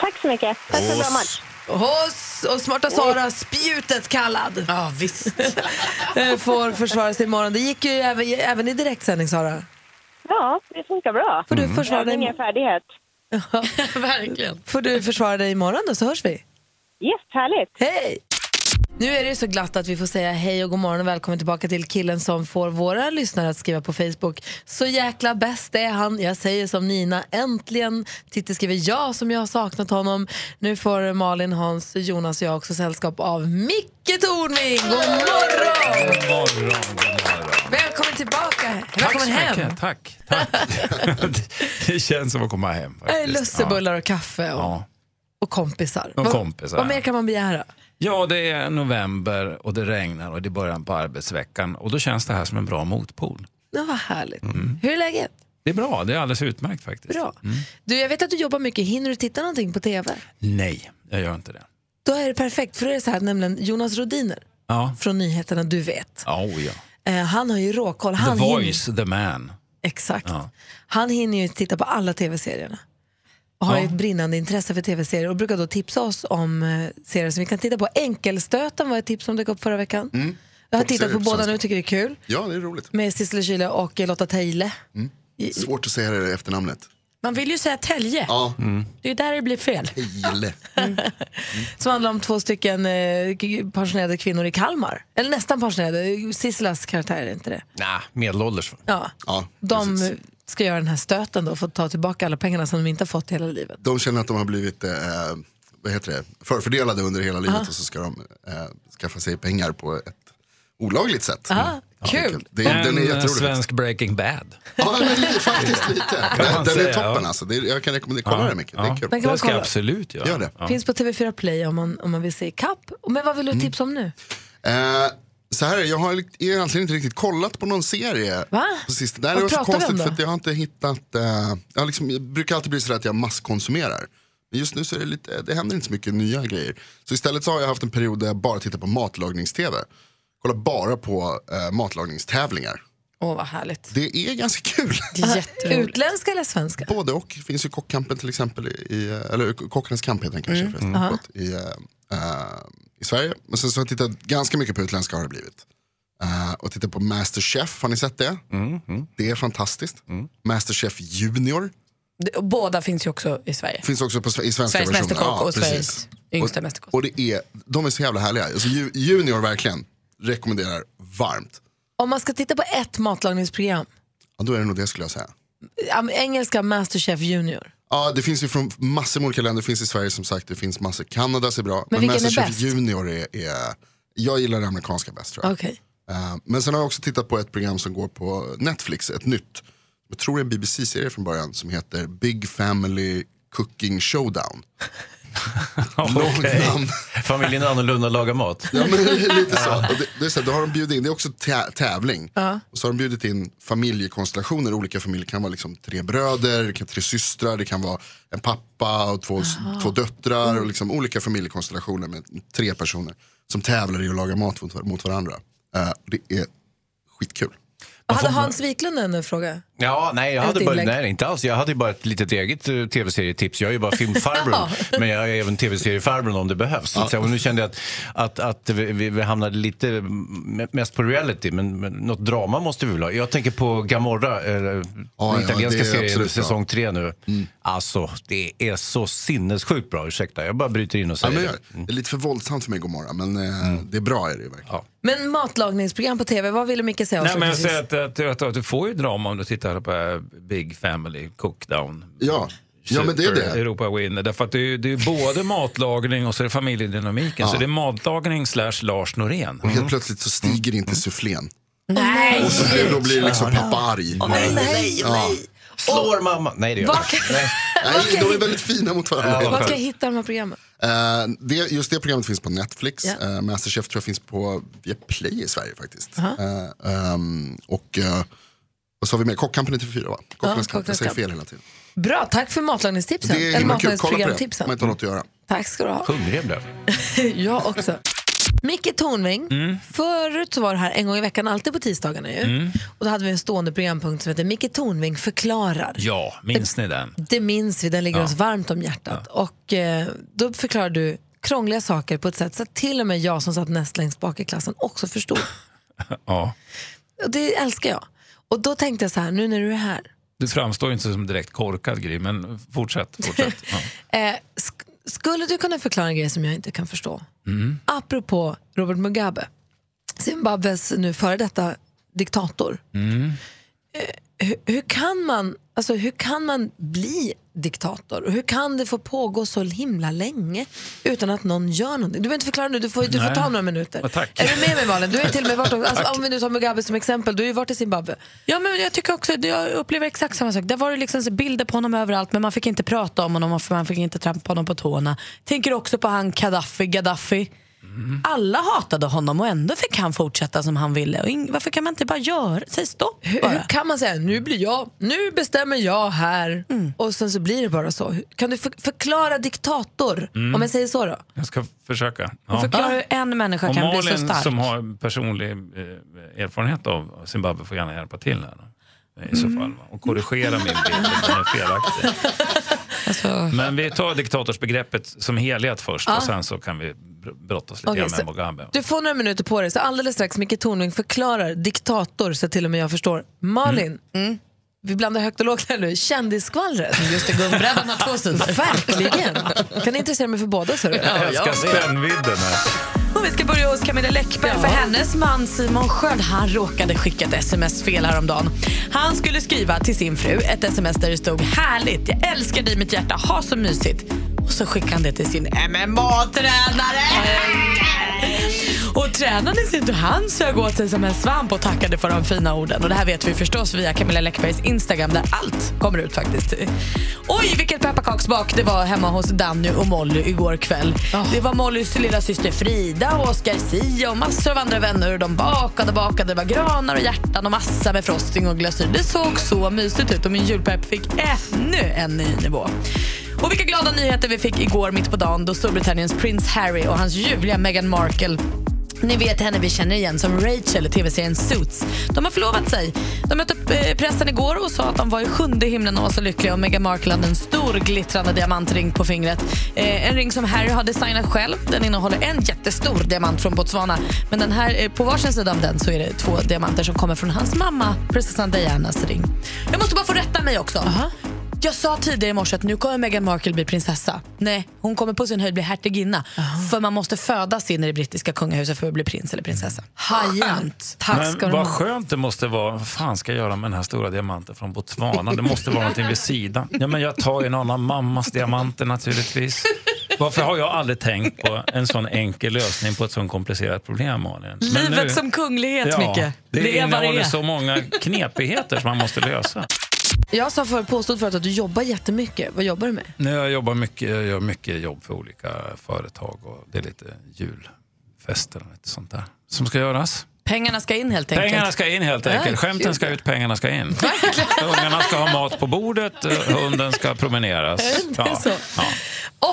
Speaker 13: Tack så mycket. Tack för en bra match.
Speaker 3: Hos och smarta Sara, spjutet kallad.
Speaker 2: Ja, visst.
Speaker 3: [laughs] Eh, Får försvara sig imorgon. Det gick ju även, även i direktsändning, Sara.
Speaker 13: Ja, det funkar bra.
Speaker 3: Får du försvara dig?
Speaker 13: Övning är färdighet.
Speaker 2: Mm. [laughs] Verkligen.
Speaker 3: Får du försvara dig imorgon då, så hörs vi.
Speaker 13: Yes, härligt.
Speaker 3: Hej! Nu är det ju så glatt att vi får säga hej och god morgon och välkommen tillbaka till killen som får våra lyssnare att skriva på Facebook. Så jäkla bäst är han. Jag säger som Nina, äntligen. Titti skriver ja som jag har saknat honom. Nu får Malin, Hans, Jonas och jag också sällskap av Micke Tornving. God morgon!
Speaker 19: God morgon, god morgon.
Speaker 3: Välkommen tillbaka. Välkommen hem.
Speaker 19: Tack, tack.
Speaker 4: [laughs]
Speaker 19: det känns som att komma hem.
Speaker 3: Äh,
Speaker 19: faktiskt.
Speaker 3: Lussebullar och kaffe och,
Speaker 19: Ja.
Speaker 3: och kompisar.
Speaker 19: Och
Speaker 3: Vad-
Speaker 19: kompisar.
Speaker 3: Vad mer kan man begära?
Speaker 18: Ja, det är november och det regnar och det är början på arbetsveckan och då känns det här som en bra motpol.
Speaker 3: Ja, vad härligt.
Speaker 18: Mm.
Speaker 3: Hur är läget?
Speaker 18: Det är bra, det är alldeles utmärkt faktiskt. Mm.
Speaker 3: Bra. Du, jag vet att du jobbar mycket. Hinner du titta någonting på TV?
Speaker 18: Nej, jag gör inte det.
Speaker 3: Då är det perfekt, för då är det så här nämligen Jonas Rodiner
Speaker 18: Ja.
Speaker 3: från nyheterna, du vet.
Speaker 18: Oh, ja.
Speaker 3: Eh, han har ju råkoll.
Speaker 18: The
Speaker 3: Han
Speaker 18: voice, the man.
Speaker 3: exakt.
Speaker 18: Ja.
Speaker 3: Han hinner ju titta på alla tv-serierna. Och har ju ett brinnande intresse för tv-serier och brukar då tipsa oss om eh, serier som vi kan titta på. Enkelstöten var ett tips som dök upp förra veckan. Jag har tittat på
Speaker 7: Toppserie på
Speaker 3: båda
Speaker 7: svenska.
Speaker 3: nu, tycker det är kul.
Speaker 7: Mm. Ja, det är roligt.
Speaker 3: Med Sissela Kyle och Lotta Teile.
Speaker 7: Mm. Svårt att säga det efternamnet.
Speaker 2: Man vill ju säga Tälje.
Speaker 7: Ja,
Speaker 2: Det är där det blir fel.
Speaker 7: Ile.
Speaker 3: Som handlar om två stycken eh, k- pensionerade kvinnor i Kalmar. Eller nästan pensionerade. Sisselas karaktär är inte det.
Speaker 4: Nej, medelålders.
Speaker 3: Ja.
Speaker 7: Ja,
Speaker 3: De ska göra den här stöten då för att ta tillbaka alla pengarna som de inte har fått hela livet.
Speaker 7: De känner att de har blivit eh, vad heter det? förfördelade under hela livet
Speaker 3: Aha.
Speaker 7: och så ska de eh, skaffa sig pengar på ett olagligt sätt.
Speaker 3: Aha,
Speaker 7: Ja, det är
Speaker 3: Ah, kul.
Speaker 7: Det är, den är
Speaker 18: En, eh,
Speaker 7: jätterolig.
Speaker 18: svensk Breaking Bad.
Speaker 7: Ja, men li- faktiskt lite.
Speaker 18: Kan
Speaker 7: Den,
Speaker 18: man
Speaker 7: den är
Speaker 18: säga,
Speaker 7: toppen
Speaker 18: ja.
Speaker 7: alltså. Det är, jag kan rekommendera, kolla
Speaker 18: Ja,
Speaker 7: den mycket. Det
Speaker 18: ja.
Speaker 7: är kul.
Speaker 3: Den kan man
Speaker 18: Det ska jag
Speaker 3: kolla.
Speaker 18: absolut göra.
Speaker 7: Gör det.
Speaker 18: Ja.
Speaker 3: Finns på TV4 Play om man, om man vill se i kapp. Men vad vill
Speaker 7: Mm.
Speaker 3: du tipsa om nu?
Speaker 7: Eh, så här är det, jag har likt- egentligen inte riktigt kollat på någon serie.
Speaker 3: Va?
Speaker 7: På sistone. Nej,
Speaker 3: Vad
Speaker 7: det var så
Speaker 3: pratar vi om
Speaker 7: konstigt
Speaker 3: då?
Speaker 7: för att jag har inte hittat, eh, jag, har liksom, jag brukar alltid bli så att jag masskonsumerar. Men just nu så är det lite, det händer inte så mycket nya grejer. Så istället så har jag haft en period där jag bara tittar på matlagnings-tv. Kollar bara på eh, matlagningstävlingar.
Speaker 3: Åh, vad härligt.
Speaker 7: Det är ganska [laughs] kul.
Speaker 3: Utländska eller svenska?
Speaker 7: Både och. Det finns ju Kockkampen till exempel, i- i, eller Kockarnas kamp heter den kanske
Speaker 3: Mm,
Speaker 7: förresten,
Speaker 3: mm.
Speaker 7: förlåt, i, eh, eh, i Sverige. Men sen så har jag tittat ganska mycket på utländska har det blivit. Eh, och tittat på Masterchef, har ni sett det? Det är fantastiskt. Masterchef Junior
Speaker 2: Det- och Båda finns ju också i Sverige.
Speaker 7: finns också på, sve- i svenska
Speaker 2: Sveriges
Speaker 7: versionen.
Speaker 2: Mästerkock
Speaker 7: Ja,
Speaker 2: och
Speaker 7: precis.
Speaker 2: Sveriges yngsta Mästerkock.
Speaker 7: Och det är, de är så jävla härliga. Alltså, ju- junior verkligen, rekommenderar varmt.
Speaker 3: Om man ska titta på ett matlagningsprogram,
Speaker 7: Ja, då är det nog det skulle jag säga.
Speaker 3: am- engelska Masterchef Junior.
Speaker 7: Ja, det finns ju från massor med olika länder. Det finns i Sverige som sagt, det finns massor. Kanada ser bra.
Speaker 3: Men vilken är
Speaker 7: Masterchef
Speaker 3: bäst?
Speaker 7: Junior är, är... Jag gillar det amerikanska bäst tror jag.
Speaker 3: Okej.
Speaker 7: Eh, Men sen har jag också tittat på ett program som går på Netflix, ett nytt. Jag tror det är en BBC-serie från början som heter Big Family Cooking Showdown.
Speaker 4: Okej. Familjen annorlunda lagar mat.
Speaker 7: Ja, men lite så. Och det, det är så här, då har de bjudit in, det är också tä- tävling.
Speaker 4: Ja.
Speaker 7: Och så har de bjudit in familjekonstellationer, olika familjer. Det kan vara liksom tre bröder, det kan tre systrar, det kan vara en pappa och två,
Speaker 6: Aha.
Speaker 7: två döttrar. Och liksom olika familjekonstellationer med tre personer som tävlar i att laga mat mot, mot varandra. Eh, och det är skitkul.
Speaker 3: Och hade Hans Wiklund en fråga?
Speaker 4: Ja, nej, jag
Speaker 3: Ett
Speaker 4: hade bara,
Speaker 3: inlägg.
Speaker 4: nej, inte alls. Jag hade ju bara ett litet eget eh, tv-serietips. Jag är ju bara
Speaker 3: Ja.
Speaker 7: [laughs]
Speaker 4: filmfarbrorn, men jag är även tv-seriefarbrorn om det behövs. Så att säga. Och nu kände jag att, att, att vi, vi vi hamnade lite m- mest på reality, men, men något drama måste vi väl ha. Jag tänker på Gamorra, eh,
Speaker 7: ja,
Speaker 4: den italienska
Speaker 7: det är
Speaker 4: serien,
Speaker 7: absolut bra. Mm.
Speaker 4: säsong tre nu. Alltså, det är så sinnessjukt bra. Ursäkta, jag bara bryter in och
Speaker 7: Ja,
Speaker 4: säger
Speaker 7: men,
Speaker 4: det. Mm.
Speaker 7: jag- det är lite för våldsamt för mig Gomorra, men eh, det är bra är det ju verkligen.
Speaker 3: Men matlagningsprogram på tv, vad ville Micke säga?
Speaker 20: Nej, men jag
Speaker 3: avslutningsvis?
Speaker 20: säger att, att, att, att du får ju drama om du tittar på eh, Big Family Cookdown.
Speaker 7: Ja. Ja, men det är
Speaker 20: Super
Speaker 7: det.
Speaker 20: Europa Winner. Därför att det är, ju- det är ju både matlagning och så är det familjedynamiken. Så det är matlagning slash Lars Norén.
Speaker 7: Och helt plötsligt så stiger inte sufflén.
Speaker 3: Nej!
Speaker 7: Och så då blir liksom pappa arg.
Speaker 3: nej, nej, nej.
Speaker 4: Slår mamma. Nej, det gör
Speaker 3: Vad
Speaker 4: jag inte.
Speaker 3: kan-
Speaker 4: Nej.
Speaker 7: Nej, de är väldigt fina mot varandra.
Speaker 3: Var ska jag hitta de här programmen?
Speaker 7: Eh, det, just det programmet finns på Netflix.
Speaker 3: Ja.
Speaker 7: Eh, Masterchef tror jag finns på Viaplay i Sverige faktiskt.
Speaker 3: Aha.
Speaker 7: Eh, ehm, och eh, vad sa vi mer? Kockkampen är 4 va? Kockarnas kamp. Jag
Speaker 3: Kockarnas
Speaker 7: säger
Speaker 3: kamp.
Speaker 7: fel hela tiden.
Speaker 3: Bra, tack för matlagningstipsen.
Speaker 7: Det är
Speaker 3: Eller
Speaker 7: himla kul. Kolla på det. Om man
Speaker 3: matlagningsprogramtipsen.
Speaker 7: inte har något att göra.
Speaker 3: Tack ska du ha.
Speaker 4: Hungrig jag blev.
Speaker 3: jag också. Micke Tornving, förut så var det här en gång i veckan, alltid på tisdagarna ju.
Speaker 20: Mm.
Speaker 3: Och då hade vi en stående programpunkt som hette Micke Tornving förklarar.
Speaker 20: Ja, minns ni den?
Speaker 3: Det minns vi, den ligger
Speaker 20: Ja.
Speaker 3: oss varmt om hjärtat. Och eh, då förklarar du krångliga saker på ett sätt så att till och med jag som satt näst längst bak i klassen också förstod.
Speaker 20: [laughs] Ja.
Speaker 3: Och det älskar jag. Och då tänkte jag så här, nu när du är här,
Speaker 20: Du framstår ju inte som direkt korkad grej, men fortsätt.
Speaker 21: [laughs]
Speaker 20: fortsätt. Ja.
Speaker 3: Eh, sk- skulle du kunna förklara en grej som jag inte kan förstå?
Speaker 20: Mm.
Speaker 3: Apropå Robert Mugabe, Zimbabwes nu före detta diktator.
Speaker 20: Mm.
Speaker 3: Hur, hur, kan man, alltså, hur kan man bli diktator? Och hur kan det få pågå så himla länge utan att någon gör någonting? Du behöver inte förklara nu, du får, du får
Speaker 20: Nej.
Speaker 3: ta några minuter.
Speaker 20: Ja, tack.
Speaker 3: Är du med mig Malin? Du har ju till och med
Speaker 20: [laughs]
Speaker 3: varit, alltså, om vi nu tar Mugabe som exempel, du har ju varit i Zimbabwe.
Speaker 2: Ja, men jag tycker också, jag upplever exakt samma sak. Där var det liksom så bilder på honom överallt men man fick inte prata om honom och man fick inte trampa honom på tårna. Tänker också på han Gaddafi, Gaddafi.
Speaker 20: Mm.
Speaker 2: Alla hatade honom och ändå fick han fortsätta som han ville. Och ing- varför kan man inte bara göra, säg stopp
Speaker 3: Hur, hur kan man säga nu blir jag, nu bestämmer jag här
Speaker 2: Mm.
Speaker 3: och sen så blir det bara så. Hur- Kan du för, förklara diktator
Speaker 20: Mm.
Speaker 3: om jag säger så då?
Speaker 20: Jag ska försöka.
Speaker 2: Och förklara hur en människa
Speaker 20: Och
Speaker 2: kan bli
Speaker 20: Malin,
Speaker 2: så stark. [laughs]
Speaker 20: som har personlig eh, erfarenhet av Zimbabwe får gärna hjälpa till här. Då. I så fall. va? Och korrigera min bild om den är felaktig.
Speaker 2: Alltså-
Speaker 20: Men vi tar diktatorsbegreppet som helhet först
Speaker 3: Ja.
Speaker 20: och sen så kan vi br- brottas lite
Speaker 3: Okej,
Speaker 20: grann med
Speaker 3: så-
Speaker 20: Mugabe.
Speaker 3: Du får några minuter på dig, så alldeles strax Micke Tornving förklarar diktator så till och med jag förstår. Malin, vi blandar högt och lågt här nu. Kändisskvallret. Just det,
Speaker 2: guldbrädan har två [laughs] sidor.
Speaker 3: Verkligen. Kan intressera mig för båda så du.
Speaker 2: Ja,
Speaker 20: [laughs] Jag älskar
Speaker 2: jag vet.
Speaker 20: spännvidden här.
Speaker 2: Och vi ska börja hos Camilla Läckberg för hennes man Simon Sköld han råkade skicka ett sms fel häromdagen. Han skulle skriva till sin fru ett sms där det stod “Härligt, jag älskar dig mitt hjärta, ha så mysigt” och så skickade han det till sin MMA-tränare. Och tränaren i sin tur, han sög åt sig som en svamp och tackade för de fina orden. Och det här vet vi förstås via Camilla Läckbergs Instagram där allt kommer ut faktiskt. Oj, vilket pepparkaksbak det var hemma hos Danny och Molly igår kväll. Det var Mollys lilla syster Frida och Oscar Sia och massor av andra vänner. De bakade och bakade. Det var granar och hjärtan och massa med frosting och glasyr. Det såg så mysigt ut och min julpepp fick ännu en ny nivå. Och vilka glada nyheter vi fick igår mitt på dagen då Storbritanniens prins Harry och hans ljuvliga Meghan Markle ni vet henne vi känner igen som Rachel i tv-serien Suits. De har förlovat sig. De mötte upp eh, pressen igår och sa att de var i sjunde himlen och var så lyckliga. Och Meghan Markle hade en stor glittrande diamantring på fingret. Eh, en ring som Harry har designat själv. Den innehåller en jättestor diamant från Botswana. Men den här, eh, på varsin sida om den så är det två diamanter som kommer från hans mamma, prinsessan Dianas ring. Jag måste bara få rätta mig också.
Speaker 21: Jag sa tidigare i morse att nu kommer Meghan Markle bli prinsessa. Nej, hon kommer på sin höjd bli hertiginna. För man måste födas in i det brittiska kungahuset för att bli prins eller prinsessa. [laughs]
Speaker 5: Hajant. Tack ska
Speaker 20: Men
Speaker 5: du
Speaker 20: vad
Speaker 5: ha.
Speaker 20: skönt det måste vara. Vad fan ska jag göra med den här stora diamanten från Botswana? Det måste vara någonting vid sidan. Ja, men jag tar ju en annan mammas diamanter naturligtvis. Varför har jag aldrig tänkt på en sån enkel lösning på ett sån komplicerat problem, Malin? Men
Speaker 21: Livet
Speaker 20: nu-
Speaker 21: som kunglighet,
Speaker 20: ja,
Speaker 21: Micke. Det
Speaker 20: Det,
Speaker 21: är vad det
Speaker 20: innehåller
Speaker 21: är.
Speaker 20: så många knepigheter som man måste lösa.
Speaker 3: Jag sa för, påstod förut att du jobbar jättemycket. Vad jobbar du med?
Speaker 20: Nej, Jag jobbar mycket, jag gör mycket jobb för olika företag och det är lite julfester och lite sånt där som ska göras.
Speaker 21: Pengarna ska in helt enkelt.
Speaker 20: Pengarna ska in helt
Speaker 21: Ja,
Speaker 20: enkelt. Skämten
Speaker 21: kul.
Speaker 20: ska ut, pengarna ska in. Ungarna ska ha mat på bordet, eh, hunden ska promeneras.
Speaker 3: Det är så.
Speaker 20: [laughs] Ja.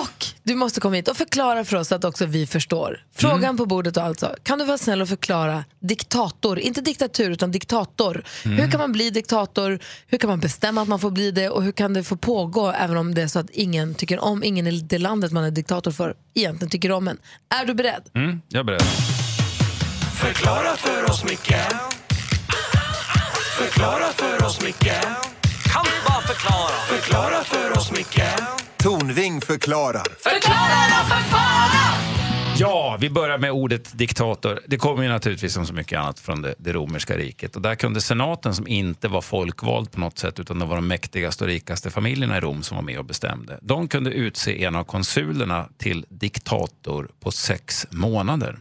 Speaker 3: Och du måste komma hit och förklara för oss så att också vi förstår. Frågan
Speaker 20: Mm.
Speaker 3: på bordet och alltså. Kan du vara snäll och förklara diktator, inte diktatur utan diktator.
Speaker 22: Mm.
Speaker 3: Hur kan man bli diktator? Hur kan man bestämma att man får bli det? Och hur kan det få pågå även om det är så att ingen tycker om, ingen i det landet man är diktator för egentligen tycker om en. Är du beredd?
Speaker 20: Mm, jag är beredd.
Speaker 10: Förklara för oss, Micke. Förklara för oss, Micke. Kan bara förklara. Förklara för oss, Micke. Tornving förklarar.
Speaker 20: Ja, vi börjar med ordet diktator. Det kommer ju naturligtvis som så mycket annat från det, det romerska riket. Och där kunde senaten, som inte var folkvald på något sätt utan det var de mäktigaste och rikaste familjerna i Rom som var med och bestämde. De kunde utse en av konsulerna till diktator på sex månader.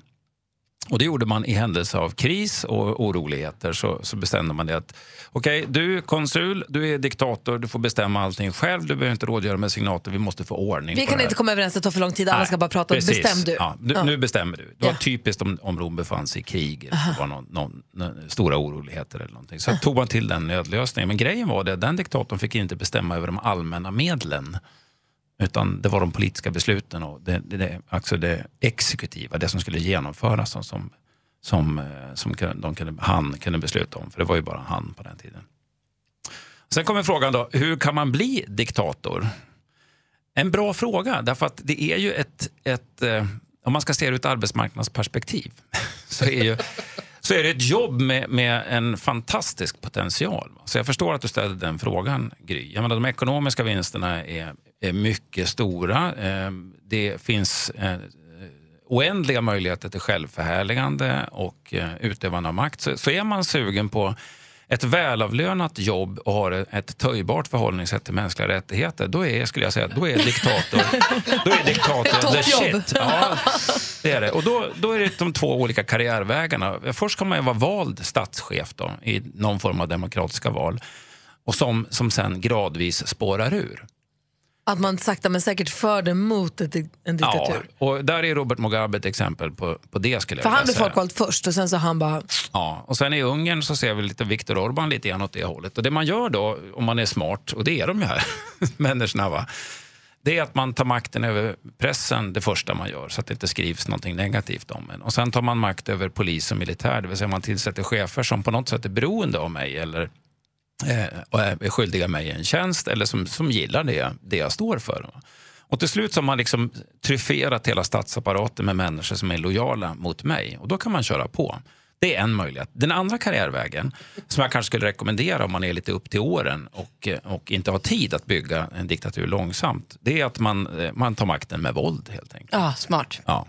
Speaker 20: Och det gjorde man i händelse av kris och oroligheter. Så, så bestämde man det att okej, du är konsul, du är diktator, du får bestämma allting själv. Du behöver inte rådgöra med signater, vi måste få ordning
Speaker 3: Vi
Speaker 20: på
Speaker 3: kan
Speaker 20: det här.
Speaker 3: inte komma överens, det tar för lång tid. Alla
Speaker 20: Nej,
Speaker 3: ska bara prata.
Speaker 20: precis.
Speaker 3: Bestäm du.
Speaker 20: Ja, nu,
Speaker 3: Ja.
Speaker 20: nu bestämmer du. Det var
Speaker 3: Ja.
Speaker 20: typiskt om, om Rom befann sig i krig eller det var någon, någon, någon, stora oroligheter eller någonting. Så tog man till den nödlösningen. Men grejen var det att den diktatorn fick inte bestämma över de allmänna medlen. Utan det var de politiska besluten och det, det, det, alltså det exekutiva, det som skulle genomföras som, som, som, eh, som kunde, de kunde, han kunde besluta om. För det var ju bara han på den tiden. Sen kommer frågan då, hur kan man bli diktator? En bra fråga, därför att det är ju ett... ett eh, om man ska se det ur ett arbetsmarknadsperspektiv [laughs] så är, ju, så är det ett jobb med, med en fantastisk potential. Så jag förstår att du ställde den frågan, Gry. Jag menar, de ekonomiska vinsterna är, är mycket stora. Eh, det finns eh, oändliga möjligheter till självförhärligande och eh, utövande av makt. Så, så är man sugen på ett välavlönat jobb och har ett töjbart förhållningssätt till mänskliga rättigheter, då är, skulle jag säga, då är diktator,
Speaker 3: [laughs]
Speaker 20: då är diktator the
Speaker 23: Toppjobb.
Speaker 20: shit. Ja, det är det. Och då, då är det de två olika karriärvägarna. Först kan man ju vara vald statschef då, i någon form av demokratiska val och som, som sen gradvis spårar ur.
Speaker 3: Att man sakta men säkert för det mot ett, en diktatur.
Speaker 20: Ja, och där är Robert Mugabe ett exempel på, på det. skulle jag
Speaker 3: För
Speaker 20: vilja
Speaker 3: han blev
Speaker 20: säga.
Speaker 3: folkvald först och sen så han bara...
Speaker 20: Ja, och sen i Ungern så ser vi lite Viktor Orbán lite grann åt det hållet. Och det man gör då, om man är smart, och det är de ju här [laughs] människorna, va? det är att man tar makten över pressen det första man gör så att det inte skrivs någonting negativt om en. Och sen tar man makt över polis och militär, det vill säga man tillsätter chefer som på något sätt är beroende av mig eller eh, och är skyldiga mig en tjänst eller som, som gillar det, det jag står för. va. Och till slut så har man liksom tryfferat hela statsapparaten med människor som är lojala mot mig och då kan man köra på. Det är en möjlighet. Den andra karriärvägen, som jag kanske skulle rekommendera om man är lite upp till åren och, eh, och inte har tid att bygga en diktatur långsamt, det är att man, eh, man tar makten med våld helt enkelt.
Speaker 21: Ja, smart.
Speaker 20: Ja.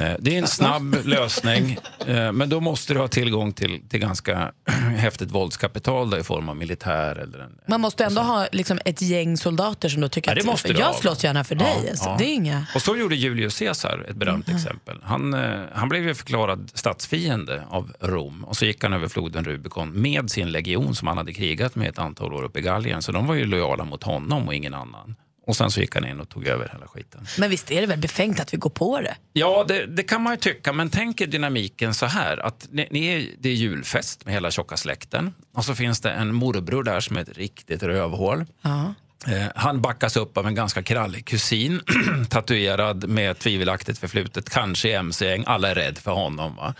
Speaker 20: Eh, Det är en snabb lösning, eh, men då måste du ha tillgång till, till ganska [clears throat] häftigt våldskapital då, i form av militär eller en
Speaker 21: Man måste ändå ha liksom, ett gäng soldater som då tycker
Speaker 20: Ja, det
Speaker 21: att
Speaker 20: måste du
Speaker 21: jag
Speaker 20: ha.
Speaker 21: slåss gärna för
Speaker 20: Ja,
Speaker 21: dig. alltså.
Speaker 20: ja.
Speaker 21: Det är inga... Mm.
Speaker 20: Och så gjorde Julius Caesar, ett berömt exempel. Han, eh, han blev ju förklarad statsfiende av Rom och så gick han över floden Rubikon med sin legion som han hade krigat med ett antal år uppe i Gallien. Så de var ju lojala mot honom och ingen annan. Och sen så gick han in och tog över hela skiten.
Speaker 21: Men visst är det väl befängt att vi går på det?
Speaker 20: Ja, det, det kan man ju tycka, men tänk er dynamiken så här. Att ni, ni är, det är julfest med hela tjocka släkten och så finns det en morbror där som är ett riktigt rövhål.
Speaker 21: Ja.
Speaker 20: Eh, Han backas upp av en ganska krallig kusin, [clears throat] tatuerad med ett tvivelaktigt förflutet, kanske i mc-gäng. Alla är rädda för honom. Va?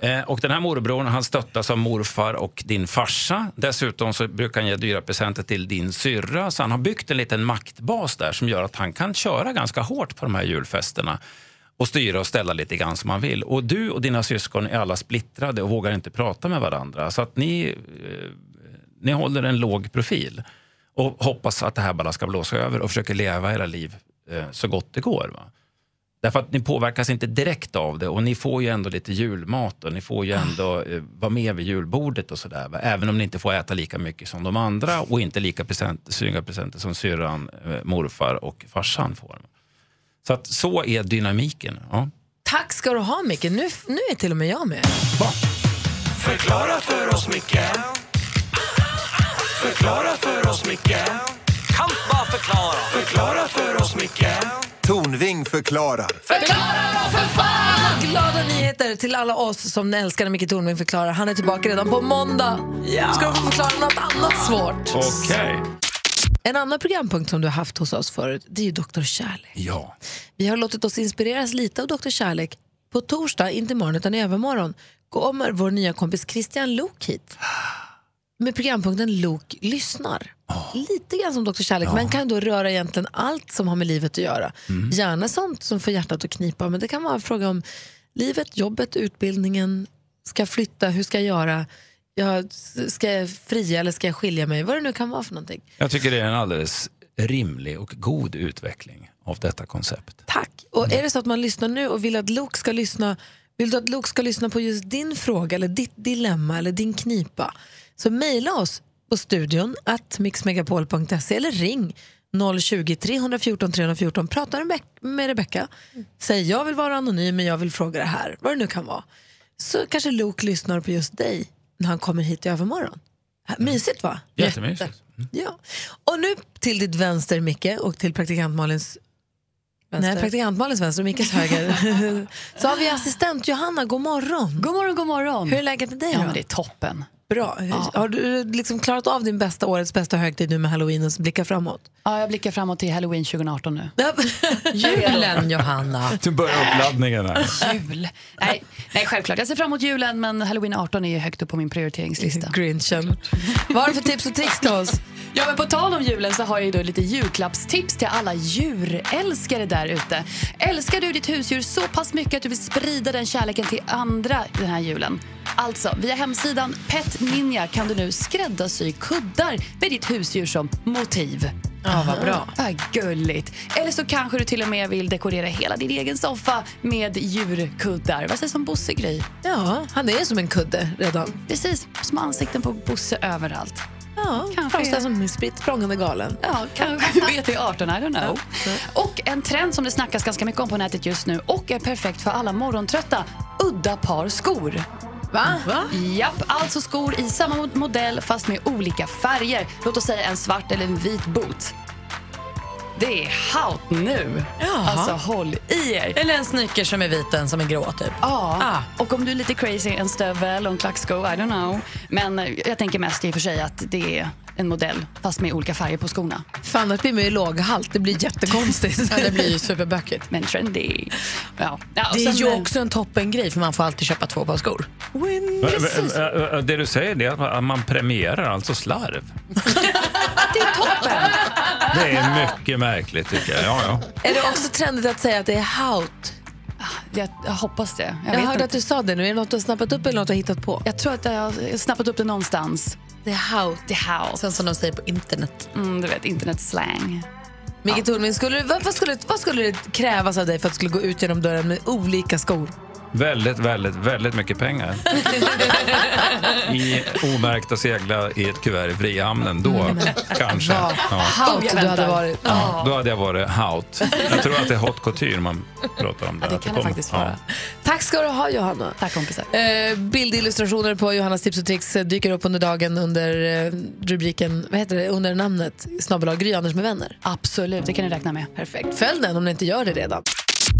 Speaker 20: Eh, och den här morbrorn han stöttas av morfar och din farsa. Dessutom så brukar han ge dyra presenter till din syrra. Så han har byggt en liten maktbas där som gör att han kan köra ganska hårt på de här julfesterna och styra och ställa lite grann som man vill. Och du och dina syskon är alla splittrade och vågar inte prata med varandra. Så att ni, eh, ni håller en låg profil. Och hoppas att det här bara ska blåsa över och försöker leva era liv eh, så gott det går. Va? Därför att ni påverkas inte direkt av det och ni får ju ändå lite julmat och ni får ju ändå eh, vara med vid julbordet och sådär. va. Även om ni inte får äta lika mycket som de andra och inte lika present, snygga presenter som syrran, eh, morfar och farsan får. Så att så är dynamiken. Ja.
Speaker 3: Tack ska du ha Micke, nu, nu är till och med jag med.
Speaker 10: Förklara för oss, Micke Förklara för oss, Micke Kan bara förklara Förklara för oss, Micke
Speaker 19: Tornving förklarar.
Speaker 10: Förklara för fan!
Speaker 3: Glada nyheter till alla oss som älskar när Micke Tornving förklarar. Han är tillbaka redan på måndag. Ska du få förklara något annat svårt?
Speaker 20: Okej.
Speaker 3: En annan programpunkt som du har haft hos oss förut, det är ju Dr. Kärlek.
Speaker 20: Ja.
Speaker 3: Vi har låtit oss inspireras lite av Dr. Kärlek. På torsdag, inte imorgon utan i övermorgon, kommer vår nya kompis Christian Lok hit. Med programpunkten Lok lyssnar. Lite grann som Dr. Kärlek, men kan då röra egentligen allt som har med livet att göra. Gärna sånt som får hjärtat att knipa, men det kan vara en fråga om livet, jobbet, utbildningen, ska jag flytta, hur ska jag göra, jag, ska jag fria eller ska jag skilja mig, vad det nu kan vara för någonting.
Speaker 20: Jag tycker det är en alldeles rimlig och god utveckling av detta koncept.
Speaker 3: Och är det så att man lyssnar nu och vill att Luke ska lyssna vill du att Luke ska lyssna på just din fråga eller ditt dilemma eller din knipa så mejla oss på studion att mixmegapol.se eller ring 020 314 314. Prata med Rebecka- med Rebecka. Säg jag vill vara anonym men jag vill fråga det här. Vad det nu kan vara. Så kanske Luke lyssnar på just dig när han kommer hit i övermorgon. Mysigt va?
Speaker 20: Jättemysigt.
Speaker 3: Ja. Och nu till ditt vänster Micke och till praktikant Malins Nej, praktikant Malins vänster och Mickes höger. Så har vi assistent Johanna, god morgon. God morgon, god morgon. Hur är läget med dig
Speaker 22: Ja,
Speaker 3: då?
Speaker 22: men det är toppen.
Speaker 3: Bra. Har du liksom klarat av din bästa årets bästa högtid nu med halloween och så blickar framåt?
Speaker 22: Ja, jag blickar framåt till halloween 2018 nu.
Speaker 3: [laughs] Julen Johanna.
Speaker 20: Du börjar uppladdningen
Speaker 3: [laughs]
Speaker 20: här.
Speaker 22: [laughs] Jul. Nej, nej, självklart. Jag ser fram emot julen, men halloween 18 är ju högt upp på min prioriteringslista.
Speaker 3: Grinchen. Vad har du för tips och tricks till oss?
Speaker 22: Ja, men på tal om julen så har jag ju då lite julklappstips till alla djurälskare där ute. Älskar du ditt husdjur så pass mycket att du vill sprida den kärleken till andra den här julen? Alltså, via hemsidan Pet Ninja kan du nu skräddarsy kuddar med ditt husdjur som motiv.
Speaker 3: Ja, vad bra.
Speaker 22: Ah, gulligt. Eller så kanske du till och med vill dekorera hela din egen soffa med djurkuddar. Vad sägs om Bosse Gry?
Speaker 3: Ja, han är som en kudde redan.
Speaker 22: Precis, små ansikten på Bosse överallt.
Speaker 3: Ja, kanske som spritt språngande galen.
Speaker 22: Ja, kanske. [laughs] BT18, I don't know. Och en trend som det snackas ganska mycket om på nätet just nu och är perfekt för alla morgontrötta, udda par skor.
Speaker 3: Va?
Speaker 22: Japp, alltså skor i samma mod- modell fast med olika färger. Låt oss säga en svart eller en vit boot. Det är haut nu. Alltså håll i er.
Speaker 21: Eller en sneaker som är vit, en som är grå typ.
Speaker 22: Ja, och om du är lite crazy, en stövel och en klacksko, I don't know. Men eh, jag tänker mest i och för sig att det är en modell fast med olika färger på skorna.
Speaker 3: För annars blir man ju låghalt, det blir jättekonstigt.
Speaker 22: Ja, det blir ju
Speaker 21: superbökigt.
Speaker 22: Men trendy. Ja. Ja, och
Speaker 21: det är
Speaker 22: sen-
Speaker 21: ju också en toppengrej för man får alltid köpa två par skor.
Speaker 22: Precis.
Speaker 20: Ä- ä- ä- Det du säger det är att man- att man premierar alltså slarv.
Speaker 3: [laughs] Det är toppen.
Speaker 20: Det är mycket märkligt tycker jag. Ja, ja.
Speaker 3: Är det också trendigt att säga att det är haut?
Speaker 22: Jag, jag hoppas det.
Speaker 3: Jag,
Speaker 22: vet
Speaker 3: hörde
Speaker 22: inte.
Speaker 3: att du sa det nu. Är det något du har snappat upp eller något du har hittat på?
Speaker 22: Jag tror att jag har snappat upp det någonstans.
Speaker 3: Det är haut.
Speaker 22: Det är haut.
Speaker 21: Sen som de säger på internet.
Speaker 22: Mm, du vet, internetslang.
Speaker 3: Micke Tornving, skulle, du- vad, vad, skulle, vad skulle det krävas av dig för att du skulle gå ut genom dörren med olika skor?
Speaker 20: Väldigt, väldigt, väldigt mycket
Speaker 3: [laughs]
Speaker 20: pengar. I omärkta segla i ett kuvert i frihamnen. Då
Speaker 3: Mm.
Speaker 20: kanske.
Speaker 3: Vad
Speaker 20: Ja.
Speaker 2: Oh,
Speaker 3: haut du hade varit.
Speaker 20: Ja, då hade jag varit haut. Jag tror att det är hot couture man pratar om. Där.
Speaker 3: det
Speaker 20: att
Speaker 3: kan det
Speaker 20: kommer.
Speaker 3: faktiskt vara. Tack ska du ha Johanna.
Speaker 22: Tack kompisar.
Speaker 3: Eh, bildillustrationer på Johannas tips och tricks eh, dyker upp under dagen under eh, rubriken, vad heter det, under namnet snabel-a Gry Anders med vänner.
Speaker 22: Absolut, det kan ni räkna med.
Speaker 3: Perfekt. Följ den om ni inte gör det redan.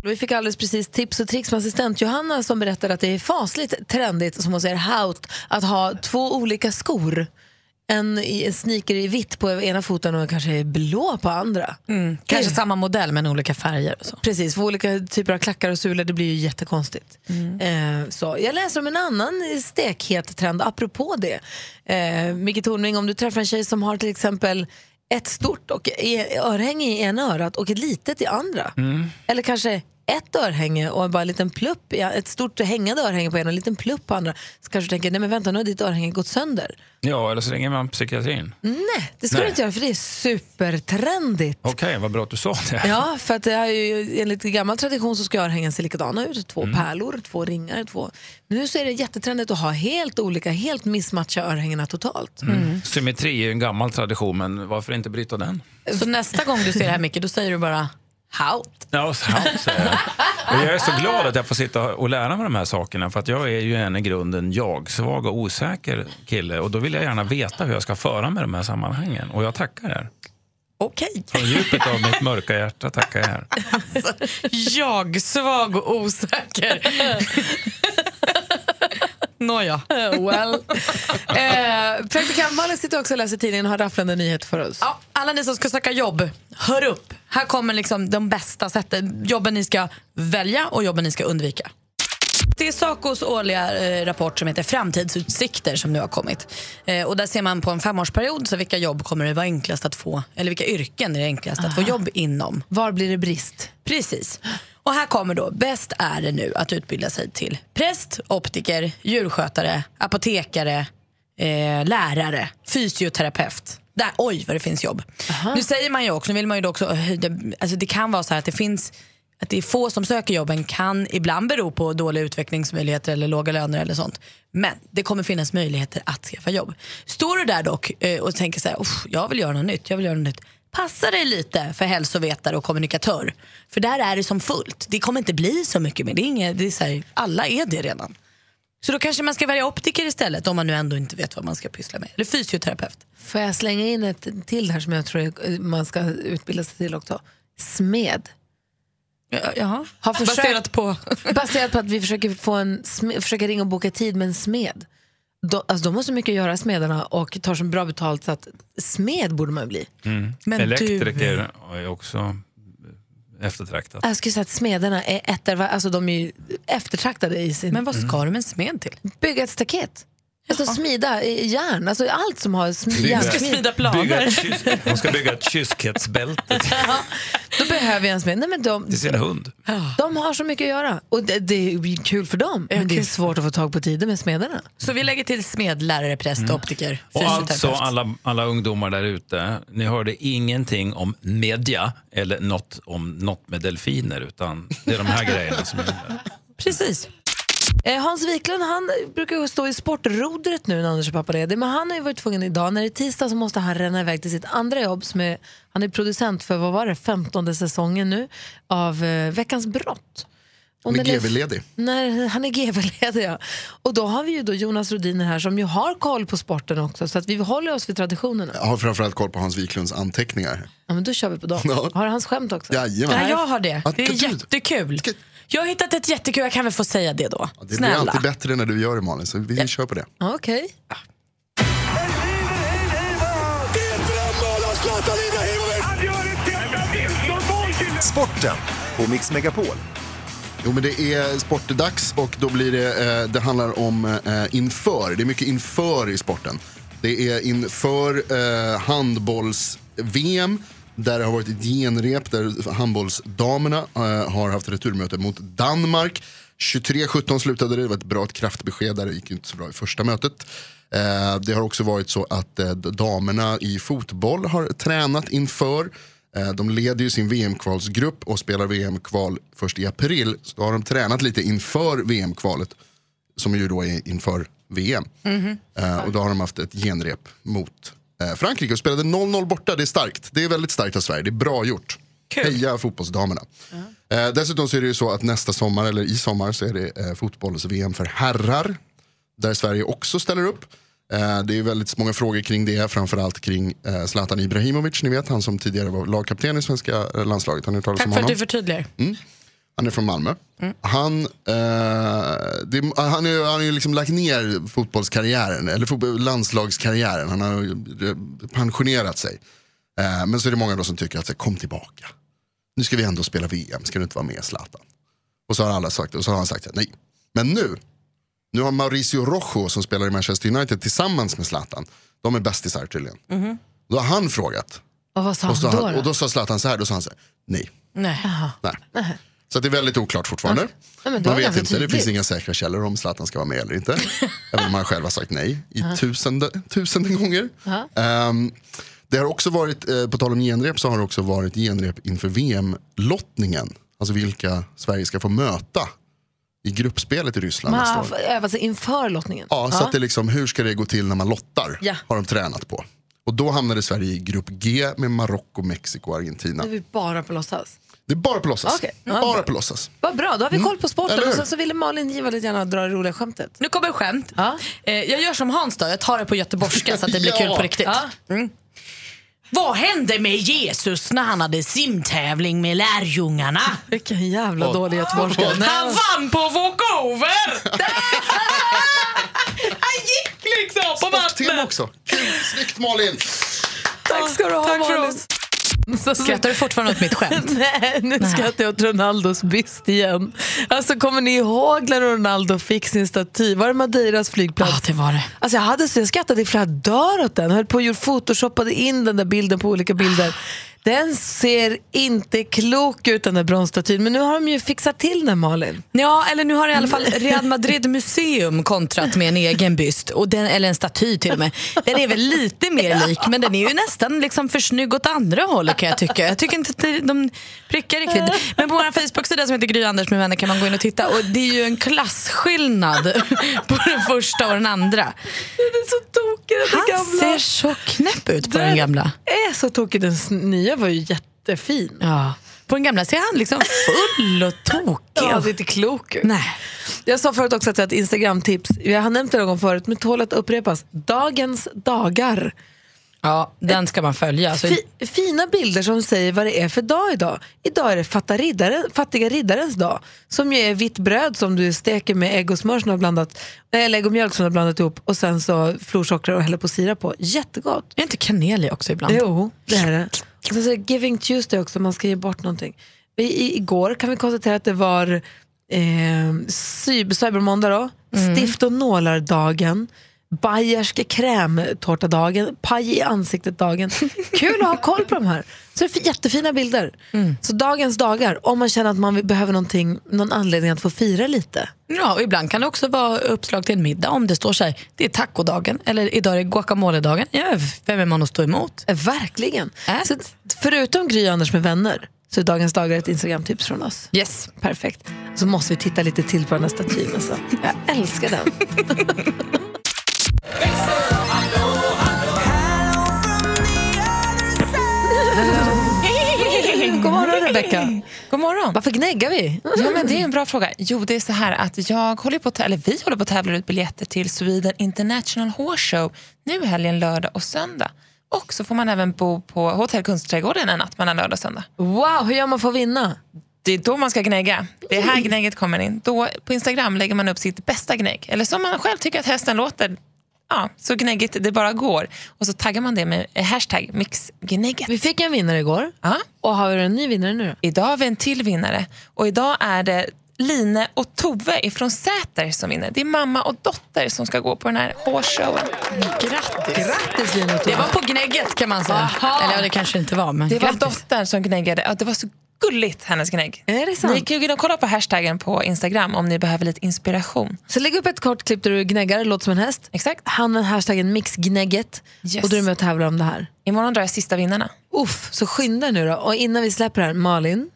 Speaker 3: Vi fick alldeles precis tips och tricks med assistent Johanna som berättade att det är fasligt trendigt, som hon säger, haut, att ha två olika skor. En, i- en sneaker i vitt på ena foten och kanske i blå på andra.
Speaker 21: Mm. Kanske samma modell men olika färger. Och så.
Speaker 3: Precis, för olika typer av klackar och sulor, det blir ju jättekonstigt.
Speaker 21: Mm.
Speaker 3: Eh, så. Jag läser om en annan stekhet trend, apropå det. Eh, Micke Tornving, om du träffar en tjej som har till exempel ett stort och e- örhänge i ena örat och ett litet i andra. Eller kanske ett örhänge och bara en liten plupp, ja, ett stort hängande örhänge på ena och en liten plupp på andra så kanske du tänker, nej men vänta nu har ditt örhänge gått sönder.
Speaker 20: Ja, eller så ringer man psykiatrin.
Speaker 3: Nej, det ska
Speaker 20: Nej.
Speaker 3: du inte göra för det är supertrendigt.
Speaker 20: Okej, vad bra att du sa det.
Speaker 3: Ja, för att det här är ju, enligt gammal tradition så ska örhängen se likadana ut. Två
Speaker 2: Mm.
Speaker 3: pärlor, två ringar, två... Men nu så är det jättetrendigt att ha helt olika, helt missmatcha örhängena totalt.
Speaker 20: Mm. Symmetri är ju en gammal tradition, men varför inte bryta den?
Speaker 2: Så nästa gång du ser det här Micke, då säger du bara Haut.
Speaker 20: Ja, så här säger jag. Och jag är så glad att jag får sitta och lära mig de här sakerna. För att jag är ju en i grunden jag-svag och osäker kille. Och då vill jag gärna veta hur jag ska föra med de här sammanhangen. Och jag tackar er.
Speaker 2: Okej.
Speaker 20: Från djupet av mitt mörka hjärta tackar jag er.
Speaker 2: Jag, svag och [laughs] osäker. Nåja.
Speaker 3: Well. eh, Praktikant Malin sitter också och läser tidningen och har rafflande nyheter för oss.
Speaker 2: Ja, alla ni som ska söka jobb, hör upp. Här kommer liksom de bästa sätten, jobben ni ska välja och jobben ni ska undvika. Det är Sacos årliga eh, rapport som heter Framtidsutsikter som nu har kommit. Eh, och där ser man på en femårsperiod så vilka jobb kommer det vara enklast att få, eller vilka yrken är det enklast att få
Speaker 3: Aha.
Speaker 2: jobb inom.
Speaker 3: Ah. Var blir det brist?
Speaker 2: Precis. Och här kommer då, bäst är det nu att utbilda sig till präst, optiker, djurskötare, apotekare, eh, lärare, fysioterapeut. Där, oj vad det finns jobb. Nu säger man ju också, nu vill man ju då också höja, alltså det kan vara så här att det finns att det är få som söker jobben kan ibland bero på dåliga utvecklingsmöjligheter eller låga löner eller sånt. Men det kommer finnas möjligheter att skaffa jobb. Står du där dock eh, och tänker så här, "Uff, jag vill göra något nytt, jag vill göra något nytt. Passa dig lite för hälsovetare och kommunikatör. För där är det som fullt. Det kommer inte bli så mycket mer. Det är inget, det är så här, alla är det redan. Så då kanske man ska välja optiker istället om man nu ändå inte vet vad man ska pyssla med. Eller fysioterapeut.
Speaker 3: Får jag slänga in ett till här som jag tror eh, man ska utbilda sig till också? Smed.
Speaker 2: Jaha.
Speaker 3: Har försökt,
Speaker 2: Baserat på?
Speaker 3: [laughs] baserat på att vi försöker, få en sme, försöker ringa och boka tid med en smed. De, alltså, de har så mycket att göra smedarna och tar så bra betalt så att smed borde man bli.
Speaker 20: Mm.
Speaker 3: Men du-
Speaker 20: Elektriker är också eftertraktat.
Speaker 3: Jag skulle säga att smederna är ett, alltså de är ju eftertraktade i sin...
Speaker 2: Men vad ska du med en smed till?
Speaker 3: Bygga ett staket. Alltså smida i järn, alltså allt som har sm- järnsmid.
Speaker 20: Bygga
Speaker 3: [laughs]
Speaker 20: ett kyss, hon ska bygga ett kyskhetsbälte
Speaker 3: Då behöver jag en smed. Nej, men de,
Speaker 20: till sin hund.
Speaker 3: de har så mycket att göra och det, det är kul för dem. Men det är svårt att få tag på tider med smederna.
Speaker 2: Så vi lägger till smed, lärare, präst, optiker,
Speaker 20: Mm. Och
Speaker 2: fysioterapeut.
Speaker 20: alltså alla, alla ungdomar där ute, ni hörde ingenting om media eller något, om, något med delfiner utan det är de här grejerna som är
Speaker 2: Precis.
Speaker 3: Eh, Hans Wiklund han brukar ju stå i sportrodret nu när Anders och pappa är ledig, men han har ju varit tvungen idag, när det är tisdag så måste han ränna iväg till sitt andra jobb som är, han är producent för, vad var det, 15 säsongen nu av eh, Veckans brott.
Speaker 7: Han är
Speaker 3: när det-
Speaker 7: GV-ledig.
Speaker 3: När, han är GV-ledig ja. Och då har vi ju då Jonas Rodiner här som ju har koll på sporten också så att vi håller oss vid traditionerna.
Speaker 7: Jag har framförallt koll på Hans Wiklunds anteckningar.
Speaker 3: Ja, men då kör vi på dem.
Speaker 7: Ja.
Speaker 3: Har hans skämt också?
Speaker 7: Jajamän.
Speaker 2: Ja, jag har det.
Speaker 7: Att-
Speaker 2: Det är jättekul. Jag har hittat ett jättekul, jag kan väl få säga det då.
Speaker 7: Det blir
Speaker 2: Snälla.
Speaker 7: alltid bättre när du gör det Malin, så vi kör på det.
Speaker 3: Ja, Okej.
Speaker 10: Sporten på Mix Megapol.
Speaker 7: Jo men det är sportdags och då blir det, eh, det handlar om eh, inför. Det är mycket inför i sporten. Det är inför eh, handbolls-VM där det har varit ett genrep där handbollsdamerna eh, har haft returmöte mot Danmark. 23-17 slutade det, det var ett bra ett kraftbesked där, det gick ju inte så bra i första mötet. Eh, det har också varit så att eh, damerna i fotboll har tränat inför. Eh, De leder ju sin VM-kvalsgrupp och spelar VM-kval först i april. Så då har de tränat lite inför VM-kvalet, som ju då är inför VM.
Speaker 2: Mhm.
Speaker 7: Eh, Och då har de haft ett genrep mot eh, Frankrike och spelade 0-0 borta. Det är starkt. Det är väldigt starkt av Sverige. Det är bra gjort. Heja fotbollsdamerna. Eh, Dessutom så är det ju så att nästa sommar, eller i sommar, så är det eh, fotbolls-VM för herrar. Där Sverige också ställer upp. Eh, Det är ju väldigt många frågor kring det, framförallt kring eh, Zlatan Ibrahimovic, ni vet han som tidigare var lagkapten i svenska eh, landslaget. Har ni hört talas om
Speaker 2: Tack för att
Speaker 7: honom? Mm.
Speaker 2: du förtydligar.
Speaker 7: Han är från Malmö. Han, eh, det, är- han, är, han har ju liksom lagt ner fotbollskarriären, eller fotbo- landslagskarriären. Han har ju eh, pensionerat sig. Eh, men så är det många då som tycker att så här, kom tillbaka. Nu ska vi ändå spela VM, ska du inte vara med Zlatan? Och så har alla sagt och så har han sagt så här, nej. Men nu, nu har Mauricio Rojo som spelar i Manchester United tillsammans med Zlatan. De är bästisar tydligen.
Speaker 3: Mhm.
Speaker 7: Då har han frågat.
Speaker 3: Och vad sa
Speaker 7: och, så
Speaker 3: han då?
Speaker 7: han,
Speaker 3: då?
Speaker 7: och då sa Zlatan så här, då sa han så här, nej.
Speaker 2: Nej.
Speaker 7: Nej. Så att det är väldigt oklart fortfarande.
Speaker 3: Ja, men då
Speaker 7: Man
Speaker 3: är det
Speaker 7: vet
Speaker 3: ganska
Speaker 7: inte, det finns
Speaker 3: tydligt.
Speaker 7: inga säkra källor om Zlatan ska vara med
Speaker 3: [laughs]
Speaker 7: eller inte. Även om han själv har sagt nej i tusende, tusenden gånger.
Speaker 3: Ja.
Speaker 7: Ehm, det har också varit, eh, på tal om genrep, så har det också varit genrep inför VM-lottningen. Alltså vilka Sverige ska få möta i gruppspelet i Ryssland
Speaker 3: Man
Speaker 7: nästa
Speaker 3: har
Speaker 7: år.
Speaker 3: övat sig inför lottningen.
Speaker 7: Ja, så att det är liksom, hur ska det gå till när man lottar?
Speaker 3: Ja.
Speaker 7: Har de tränat på. Och då hamnade Sverige i grupp G med Marocko, Mexiko och Argentina.
Speaker 3: Nu är vi bara på låtsas.
Speaker 7: Det är bara på låtsas.
Speaker 3: Okej. Ja,
Speaker 7: Bara
Speaker 3: bra.
Speaker 7: på låtsas.
Speaker 3: Vad bra, då har vi
Speaker 7: Mm.
Speaker 3: koll på
Speaker 7: Eller
Speaker 3: sporten.
Speaker 7: hur?
Speaker 3: Och sen så ville Malin Giva lite gärna dra det roliga skämtet.
Speaker 2: Nu kommer skämt. Eh, jag gör som Hans då, jag tar det på
Speaker 14: [laughs]
Speaker 2: göteborgska så att det blir
Speaker 3: Ja.
Speaker 2: kul på riktigt.
Speaker 3: Ja.
Speaker 2: Mm. Vad hände med Jesus när han hade simtävling med lärjungarna?
Speaker 3: Vilken jävla dålig göteborgska.
Speaker 2: Han vann på walkover!
Speaker 14: [laughs]
Speaker 3: Han gick liksom på
Speaker 7: Tema också. Kul, Snyggt Malin!
Speaker 3: Tack ska du ha
Speaker 2: Tack för
Speaker 3: Malin. Så
Speaker 2: Skrattar du fortfarande åt mitt skämt?
Speaker 3: [laughs] Nej, nu skrattar jag åt Ronaldos byst igen. Alltså kommer ni ihåg när Ronaldo fick sin staty? Var det Madeiras flygplats? Ja,
Speaker 2: det var det.
Speaker 3: Alltså jag, hade, så- jag skrattade i flera dagar åt den. Höll på och gjorde- photoshoppade in den där bilden på olika bilder. Den ser inte klok ut den där bronsstatyn. Men nu har de ju fixat till den Malin.
Speaker 2: Ja, eller nu har i alla fall Real Madrid Museum kontrat med en egen byst, och den, eller en staty till och med. Den är väl lite mer lik, men den är ju nästan liksom för snygg åt andra hållet kan jag tycka. Jag tycker inte att det- de prickar riktigt. Men på vår Facebook-sida som heter Gry Anders med vänner kan man gå in och titta och det är ju en klasskillnad [laughs] på den första och den andra.
Speaker 3: Den är så tokig den
Speaker 2: Han
Speaker 3: där
Speaker 2: ser
Speaker 3: gamla.
Speaker 2: så knäpp ut på den, gamla.
Speaker 3: är så tokig. Den s- nya var ju jättefin.
Speaker 2: Ja. På den gamla ser han liksom full och tokig.
Speaker 3: Ja, det är inte klok ut.
Speaker 2: Nej.
Speaker 3: Jag sa förut också att jag har ett Instagram-tips. Jag har nämnt det någon gång förut, men tål att upprepas. Dagens dagar.
Speaker 2: Ja, den ska man följa. Alltså,
Speaker 3: Fi- fina bilder som säger vad det är för dag idag. Idag är det fatta riddaren, fattiga riddarens dag. Som ju är vitt bröd som du steker med ägg och smör som du har blandat, eller ägg och mjölk som du har blandat ihop och sen så florsocker och häller på sirap på. Jättegott.
Speaker 2: är inte kanel i också ibland?
Speaker 3: Jo, det är det. Och sen så är det Giving Tuesday också, man ska ge bort någonting. I, i, igår kan vi konstatera att det var eh, cyber, cybermåndag då, stift och nålar-dagen, bayersk krämtårta-dagen, paj i ansiktet-dagen. Kul att ha koll på de här. Så det är jättefina bilder. Så dagens dagar, om man känner att man vill- behöver någonting, någon anledning att få fira lite.
Speaker 2: Ja, och ibland kan det också vara uppslag till en middag om det står så här, det är tacodagen eller idag är det guacamoledagen. Ja, vem är man att stå emot? Äh,
Speaker 3: Verkligen. Så att förutom Gry och Anders med vänner så är Dagens Dagar ett Instagram-tips från oss.
Speaker 2: Yes.
Speaker 3: Perfekt. Så måste vi titta lite till på den här statyn. Alltså. Jag älskar den. God morgon, Rebecca.
Speaker 23: God morgon.
Speaker 3: Varför gnäggar vi?
Speaker 23: Ja, men det är en bra fråga. Jo, det är så här att jag håller på att tä- eller vi håller på att tävla ut biljetter till Sweden International Horse Show nu helgen lördag och söndag. Och så får man även bo på Hotell Kungsträdgården en natt mellan lördag och söndag.
Speaker 3: Wow, hur gör man för att vinna?
Speaker 23: Det är då man ska gnägga. Det är här gnägget kommer in. Då på Instagram lägger man upp sitt bästa gnägg. Eller som man själv tycker att hästen låter. Ja, så gnäggigt det bara går. Och så taggar man det med eh, hashtag mixgnägget.
Speaker 3: Vi fick en vinnare igår.
Speaker 23: Ja.
Speaker 3: Och har vi en ny vinnare nu då?
Speaker 23: Idag har vi en till vinnare. Och idag är det Line och Tove ifrån Säter som vinner. Det är mamma och dotter som ska gå på den här hårshowen.
Speaker 2: Grattis!
Speaker 3: Grattis Lina
Speaker 2: Det var på gnägget kan man säga. Eller ja, det kanske inte var, men
Speaker 23: Det var
Speaker 2: grattis.
Speaker 23: dottern som gnäggade. Ja, det var så gulligt, hennes gnägg.
Speaker 3: Är det sant?
Speaker 23: Ni kan ju gå och kolla på hashtaggen på Instagram om ni behöver lite inspiration.
Speaker 3: Så lägg upp ett kort klipp där du gnäggar, låter som en häst.
Speaker 23: Exakt.
Speaker 3: Använd hashtaggen mixgnägget.
Speaker 23: Yes.
Speaker 3: Och då är du med och tävlar om det här.
Speaker 23: Imorgon drar jag sista vinnarna.
Speaker 3: Uff, så skynda nu då. Och innan vi släpper det här, Malin.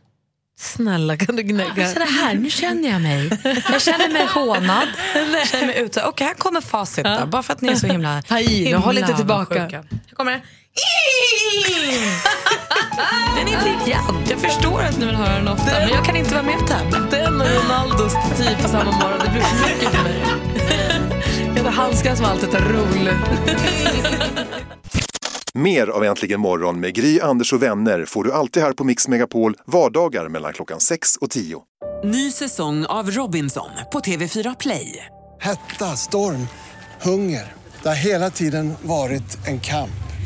Speaker 3: Snälla kan du
Speaker 23: Ah,
Speaker 3: gnägga?
Speaker 2: Så det här, nu känner jag mig. Jag känner mig hånad. Jag känner mig utsatt. Okej, här kommer facit då. Bara för att ni är så [laughs] himla
Speaker 3: Ta i, nu,
Speaker 2: himla
Speaker 3: håll inte tillbaka.
Speaker 2: avundsjuka. Här kommer det. [laughs] Den är briljant. Jag förstår att ni vill höra den ofta, men jag kan inte vara med och tävla.
Speaker 3: Den och Ronaldos staty på samma morgon, det blir för mycket för mig. Jag hade handskar som alltid tar rull.
Speaker 24: Mer av Äntligen morgon med Gry, Anders och vänner får du alltid här på Mix Megapol vardagar mellan klockan 6 och 10.
Speaker 25: Ny säsong av Robinson på TV4 Play.
Speaker 26: Hetta, storm, hunger. Det har hela tiden varit en kamp.